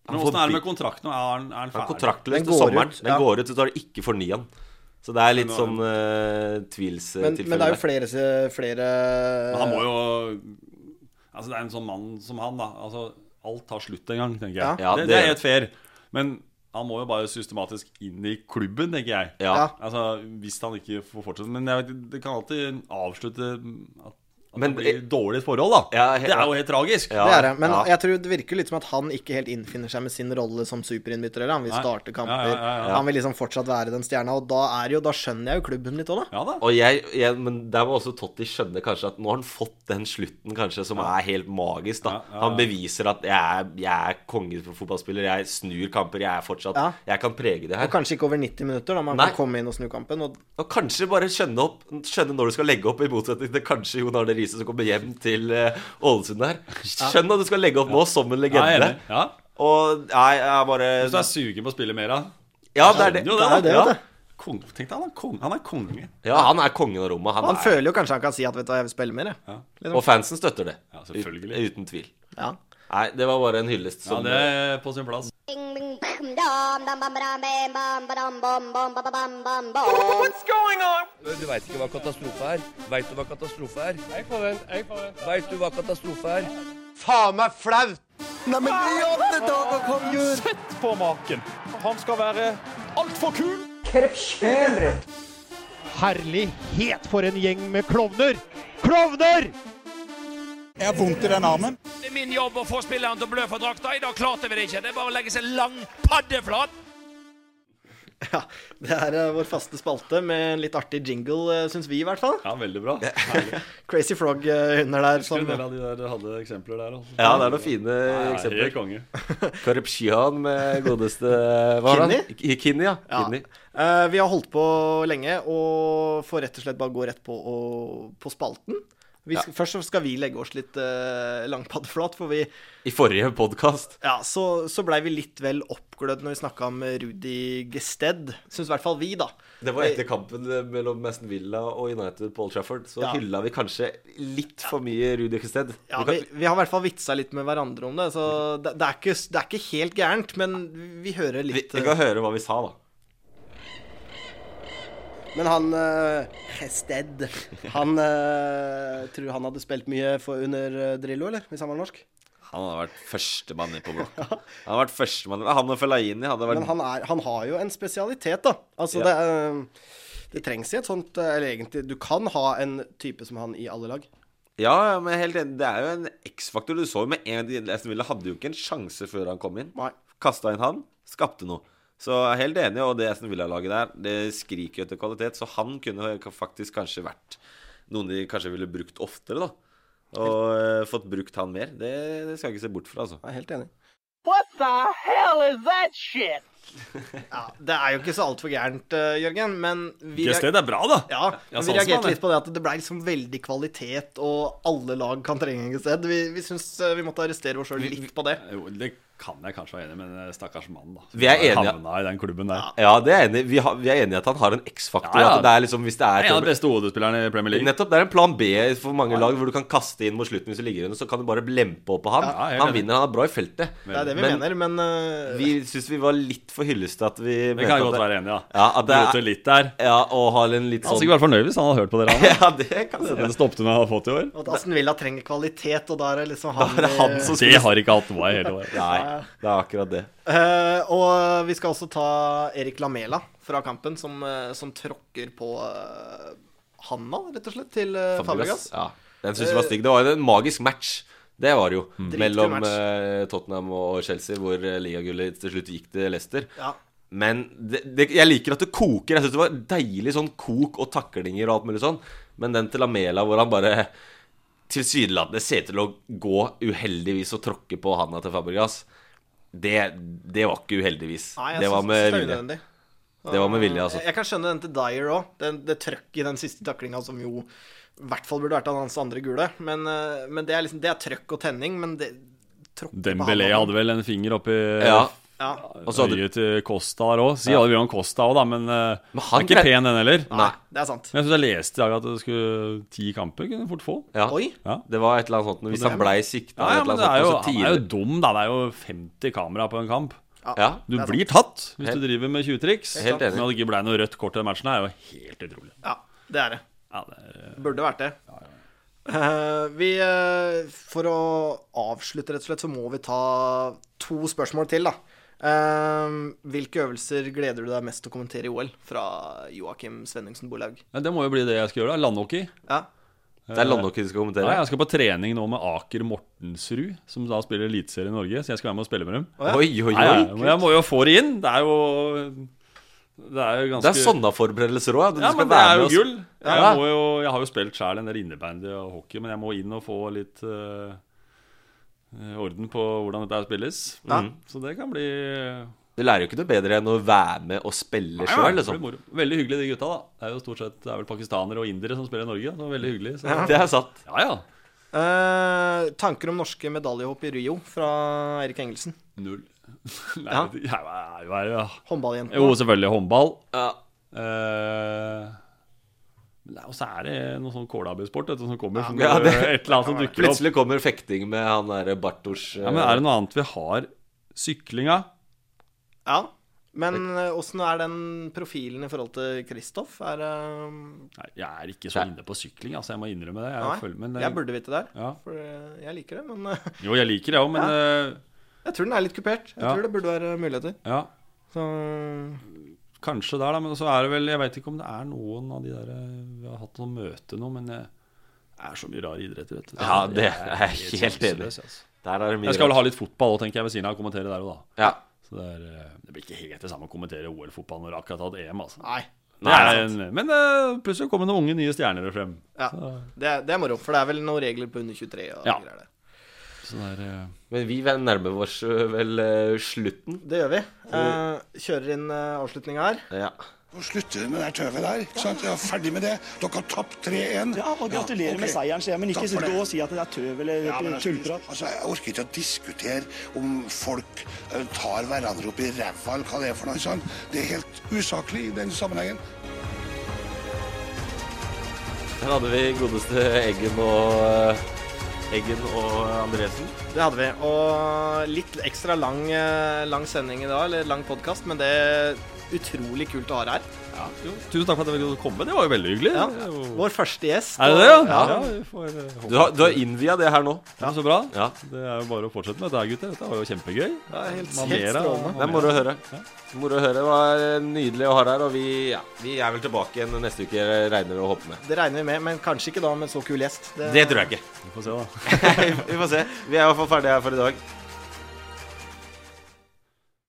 H: Men åssen er det med kontrakten? Er han, er han
B: Han er
H: ferdig?
B: kontraktløs til sommeren. den går ut, så tar det ikke forny han. Så det er litt
H: Men nå-
B: sånn uh,
G: Men,
B: tvilstilfelle.
G: men det er jo flere, flere
H: Men han må jo Altså, det er en sånn mann som han, da. Altså, alt tar slutt en gang, tenker jeg.
B: Ja. Ja,
H: det,
B: det
H: det
B: gjør
H: er helt fair. Men han må jo bare systematisk inn i klubben, tenker jeg.
B: Ja.
H: Altså, Hvis han ikke får fortsette. Men jeg vet, det kan alltid avslutte at, at
B: Men-
H: det blir dårlig forhold, da. det er jo helt tragisk.
G: det er det. Men jeg tror det virker litt som at han ikke helt innfinner seg med sin rolle som superinnbytter. eller Han vil
H: Nei.
G: starte kamper.
H: Ja, ja, ja, ja.
G: Han vil liksom fortsatt være den stjerna. Og da, er jo, da skjønner jeg jo klubben litt òg, da.
B: Og jeg, jeg, men der må også Totti skjønne kanskje at nå har han fått den slutten kanskje som er helt magisk. da
H: ja, ja.
B: Han beviser at jeg er, jeg er konge for fotballspiller, jeg snur kamper, jeg er fortsatt
G: Ja.
B: Jeg kan prege det her.
G: Og kanskje ikke over 90 minutter, da. Man
B: Nei.
G: kan komme inn og snu kampen. Og
B: Og kanskje bare skjønne, opp, skjønne når du skal legge opp, i motsetning til kanskje Jon Arne Riise som kommer hjem til eh, Ålesund her. Skjønn at du skal legge opp nå, som en
H: Ja, jeg er
B: legende.
H: enig. Ja.
B: Og nei, jeg er bare
H: Hvis du er sugen på å spille mer, da.
B: Ja, det er det.
H: Skjønner jo da.
B: Det er det, vet du.
H: Ja. Kong, tenk deg, han er, kong, han er konge.
B: Ja, han er kongen av rommet. Han,
G: han
B: er,
G: føler jo kanskje han kan si at 'vet du hva, jeg vil spille mer', jeg. Liksom.
B: Og fansen støtter det.
H: Ja, selvfølgelig.
B: Ut- Uten tvil.
G: Ja.
B: Nei, det var bare en hyllest
H: Ja,
B: som
H: det er Sånn, eh, på sin plass.
F: What's going on?
J: Du veit ikke hva katastrofe er. Veit du hva katastrofe er?
F: Jeg får den, jeg får den.
J: Veit du hva katastrofe er?
N: Faen meg flaut!
F: Neimen, i alle dager, kom igjen!
K: Sett på maken! Han skal være altfor kul!
N: Herlighet for en gjeng med klovner! Klovner! Jeg har vondt i den armen.
E: Det er min jobb å få spilleren til å blø for drakta. I dag klarte vi det ikke. Det er bare å legge seg lang paddeflat.
G: Det er eh, vår faste spalte med en litt artig jingle, uh, syns vi i hvert fall.
H: Ja, veldig bra.
G: Crazy Frog eh, under der.
H: Husker en
G: Som,
H: del av de der hadde eksempler der. Altså.
B: Ja, det er noen fine
H: Ja, ja,
B: eksempler.
H: Helt konge.
B: Korrupsjon med godeste Hva var det? Ki- Kinni, ja.
G: Ja.
B: Kinni.
G: Eh, vi har holdt på lenge, og får rett og slett bare gå rett på, og, på spalten. Vi, sk- Først så skal vi legge oss litt uh, langpaddeflat, for vi
B: I forrige podkast.
G: Ja, så, så blei vi litt vel oppglødd når vi snakka om Rudi Gested. Syns i hvert fall vi, da.
B: Det var etter kampen eh, mellom Aston Villa og United på Old Trafford. Så
G: Ja.
B: hylla vi kanskje litt for mye Rudi Kested.
G: Ja, vi, vi har i hvert fall vitsa litt med hverandre om det, så det, det, er, ikke, s- det er ikke helt gærent, men vi hører
B: vi,
G: litt eh,
B: vi kan høre hva vi sa, da.
N: Men han Hested Han eh, tror han hadde spilt mye for under eh, Drillo, eller? Hvis han var norsk?
B: Han hadde vært førstemann inn på blokka. Han hadde vært førstemann Han og Fellaini hadde vært
N: Men han, er, han har jo en spesialitet, da. Altså,
B: Ja.
N: det,
G: eh,
N: er, det trengs i et sånt eh, Eller egentlig, du kan ha en type som han i alle lag.
B: Ja, ja, men helt enig. Det er jo en X-faktor. Du så jo med en gang Aston Villa hadde jo ikke en sjanse før han kom inn. Kasta inn han, skapte noe. Så jeg er helt enig, og det Aston Villa-laget der, det skriker jo etter kvalitet. Så han kunne faktisk kanskje vært noen de kanskje ville brukt oftere, da. Og eh, fått brukt han mer. Det, det skal jeg ikke se bort fra, altså.
N: Jeg er helt enig.
F: What the hell is that shit?
G: Ja, det er jo ikke så altfor gærent, eh, Jørgen, men vi
H: Gested er bra, da.
G: Ja, sånn
H: Jeg
G: men vi
H: sa det som han
G: reagerte
H: er.
G: litt på det at det ble liksom veldig kvalitet, og alle lag kan trenge et sted. Vi, vi syns eh, vi måtte arrestere oss sjøl litt på det.
H: Jo, det kan jeg kanskje være enig i, men eh, stakkars mann, da.
B: Vi er
H: Som
B: enige.
H: Havna i den klubben der.
B: Ja, det er enig. Vi, har, vi er enige i at han har en X-faktor.
H: Ja, ja.
B: At det er liksom, hvis det er
H: En av de beste hodespillerne i Premier League.
B: Nettopp. Det er en plan B for mange lag, hvor du kan kaste inn mot slutten hvis du ligger under, så kan du bare lempe opp på han.
G: Ja,
H: helt
B: han
H: enig.
B: vinner, han er bra i feltet.
G: Det er det vi
B: Men
G: mener, men eh,
B: Vi syns vi var litt for Hyllestad at vi
H: Det
B: mente
H: kan jeg
B: at
H: godt være enig i, ja.
B: ja at det
H: Gråte
B: er,
H: litt der.
B: Ja, og ha en litt
H: Han hadde
B: sånn
H: sikkert vært fornøyd hvis han hadde hørt på dere. Anna.
B: Ja, det kan
H: Den
B: hende.
H: stoppet hun jeg har fått i år.
G: Og at Aston Villa trenger kvalitet, og da er det liksom han,
H: Det har ikke hatt noe i hele år.
G: Nei,
B: det er akkurat det.
G: Eh, og vi skal også ta Erik Lamela fra kampen, som, eh, som tråkker på uh, handa, rett og slett, til eh, Fabregas.
B: Ja, den synes jeg var stygg. Det var jo en magisk match. Det var det jo.
H: Mm.
G: Dritkul
B: Mellom
G: match.
B: eh, Tottenham og Chelsea, hvor eh, ligagullet til slutt gikk til Leicester.
G: Ja.
B: Men det, det, jeg liker at det koker. Jeg synes det var deilig sånn kok og taklinger og alt mulig sånn. Men den til Lamela hvor han bare tilsynelatende ser til å gå uheldigvis og tråkke på handa til Fabregas, det, det var ikke uheldigvis.
G: Nei, jeg
B: det var
G: synes
B: med
G: det er
B: vilje.
G: unødvendig.
B: Det var med vilje, altså.
G: Jeg, jeg kan skjønne den til Dyer òg. Det trøkket i den siste taklinga som jo i hvert fall burde vært av hans andre gule. Men, eh, men det er liksom Det er trøkk og tenning, men det tråkker på
H: Dembélé
G: handa.
H: hadde vel en finger oppi
B: Ja.
G: Ja.
H: Og så hadde... øyet til Costa her òg. Si ja. mye om Costa òg, da, men, eh,
B: han
H: er ikke
B: gre-
H: pen, den heller.
B: Nei,
G: det er sant.
H: Men jeg syns jeg leste i dag at det skulle ti kamper, kunne du fort få.
B: Ja. Det var et eller annet sånt. Hvis han blei sikta
H: Ja, ja,
B: eller
H: men
B: et
H: det er
B: eller
H: jo,
B: annet sånt,
H: han
B: så
H: er jo
B: tidlig-
H: dum, da. Det er jo 50 kamera på en kamp.
B: Ja,
H: Du
B: det er
H: blir
B: sant.
H: tatt hvis du driver med 20 triks.
B: Helt enig.
H: Men at det ikke ble noe rødt kort i den matchen, er jo helt utrolig.
G: Ja, det er det.
H: Ja, det er, eh,
G: Burde vært det. Eh, vi, eh, for å avslutte, rett og slett, så må vi ta to spørsmål til, da. Eh, hvilke øvelser gleder du deg mest til å kommentere i OL? Fra Joakim Svenningsen Bolaug.
H: Ja, det må jo bli det jeg skal gjøre, da. Landhockey.
G: Ja.
B: Det er landhockey du skal kommentere?
H: Ja, jeg skal på trening nå med Aker Mortensrud, som da spiller Eliteserien i Norge. Så jeg skal være med og spille med dem.
B: Å, ja. Oi, oi, oi.
H: Ja, ja, men jeg må jo få det inn. Det er jo Det er jo ganske
B: Det er sånn sånne forberedelser òg.
H: Ja, men det er jo gull.
B: Ja.
H: Jeg, må jo, jeg har jo spilt sjæl en del innebandy og hockey, men jeg må inn og få litt eh, orden på hvordan dette her spilles.
B: Ja.
H: Mm. Så det kan bli
B: Du lærer jo ikke noe bedre enn å være med og spille
H: Nei,
B: sjøl,
H: det blir
B: liksom.
H: moro. Veldig hyggelig, de gutta. da Det er jo stort sett det er vel pakistanere og indere som spiller i Norge. Så veldig hyggelig så.
B: Det er sant.
H: Ja, ja.
G: Eh, tanker om norske medaljehopp i Rio fra Eirik Engelsen.
H: Null. Nei,
G: Ja.
H: det er jo- er jo- ja.
G: Håndballjentene.
H: Jo, selvfølgelig håndball.
B: Ja.
H: og så er det noe sånn kålabesport vet du, som kommer. Som
B: Ja,
H: bare- et eller annet som dukker opp.
B: Plutselig kommer fekting med han derre Bartos
H: Ja, men er det noe annet vi har? Syklinga?
G: Ja. Men eh, åssen er den profilen i forhold til Kristoff? Er eh,
H: Nei, jeg er ikke så inne på sykling, altså. Jeg må innrømme det. Jeg,
G: Nei,
H: følger- men,
G: jeg burde vite det.
H: Ja.
G: For eh, jeg liker det, men eh,
H: Jo, jeg liker det òg, men eh,
G: jeg tror den er litt kupert. Jeg
H: Ja.
G: tror det burde være muligheter.
H: ja.
G: Så
H: Kanskje der, da. Men så er det vel Jeg veit ikke om det er noen av de der eh, Vi har hatt noe møte nå, men eh, det er så mye rare idretter, vet du.
B: eh, Ja, det
H: Jeg
B: er jeg helt enig
H: sjanseløs,
B: i.
H: altså.
B: Der er det mye
H: Jeg skal vel
B: rart.
H: ha litt fotball òg, tenker jeg, ved siden av. Kommentere der og da.
B: Ja.
H: Så det, er, eh, det blir ikke helt det samme å kommentere OL-fotball når du akkurat har hatt EM, altså.
G: Nei.
H: Det er en, men eh, plutselig kommer det noen unge, nye stjerner frem.
G: ja. Det, er- det er moro, for det er vel noen regler på under 23 og
H: Ja.
G: greier der.
H: Så det er eh,
B: Men vi nærmer oss øh, vel øh, slutten.
G: Det gjør vi. Eh, kjører inn uh, avslutninga her.
B: Ja.
C: Nå slutter vi med det der tøvet der. ikke sant? Jeg er ferdig med det. Dere har tapt 3-1.
O: Ja, og gratulerer
C: ok.
O: med seieren, sier jeg, men ikke
C: Takk for
O: sitte
C: det.
O: og si at det er tøv eller
C: Ja, men jeg-
O: tullprat.
C: Altså, jeg orker ikke å diskutere om folk eh, tar hverandre opp i ræva eller hva det er for noe sånt. Det er helt usaklig i den sammenhengen.
B: Der hadde vi godeste Eggen og øh, Eggen og Andresen.
G: Det hadde vi. Og litt ekstra lang, eh, lang sending i dag, eller lang podkast, men det er utrolig kult å ha deg her.
H: Ja, jo, tusen takk for at jeg ville komme. Det var jo veldig hyggelig.
G: Ja. Vår første gjest.
H: Er det det, ja?
G: og-
H: Ja, vi får, eh, håpe
B: Du har,
H: at-
B: du har innvia det her nå.
H: Ja, så bra.
B: Ja.
H: Det er jo bare å fortsette med dette, her, gutter. Dette var jo kjempegøy.
G: Ja, helt-
H: Man
G: helt
H: ler av-
G: strålende.
H: man
B: Det er
H: ler
B: moro å
H: av-
B: høre. Moro å høre. Det var eh, nydelig å ha deg her, og vi, ja, vi er vel tilbake igjen neste uke, regner vi å håpe med.
G: Det regner vi med, men kanskje ikke da med en så kul gjest.
B: Det tror jeg ikke.
H: Vi får se, da.
B: vi får se. Vi er i hvert fall ferdige her for i dag.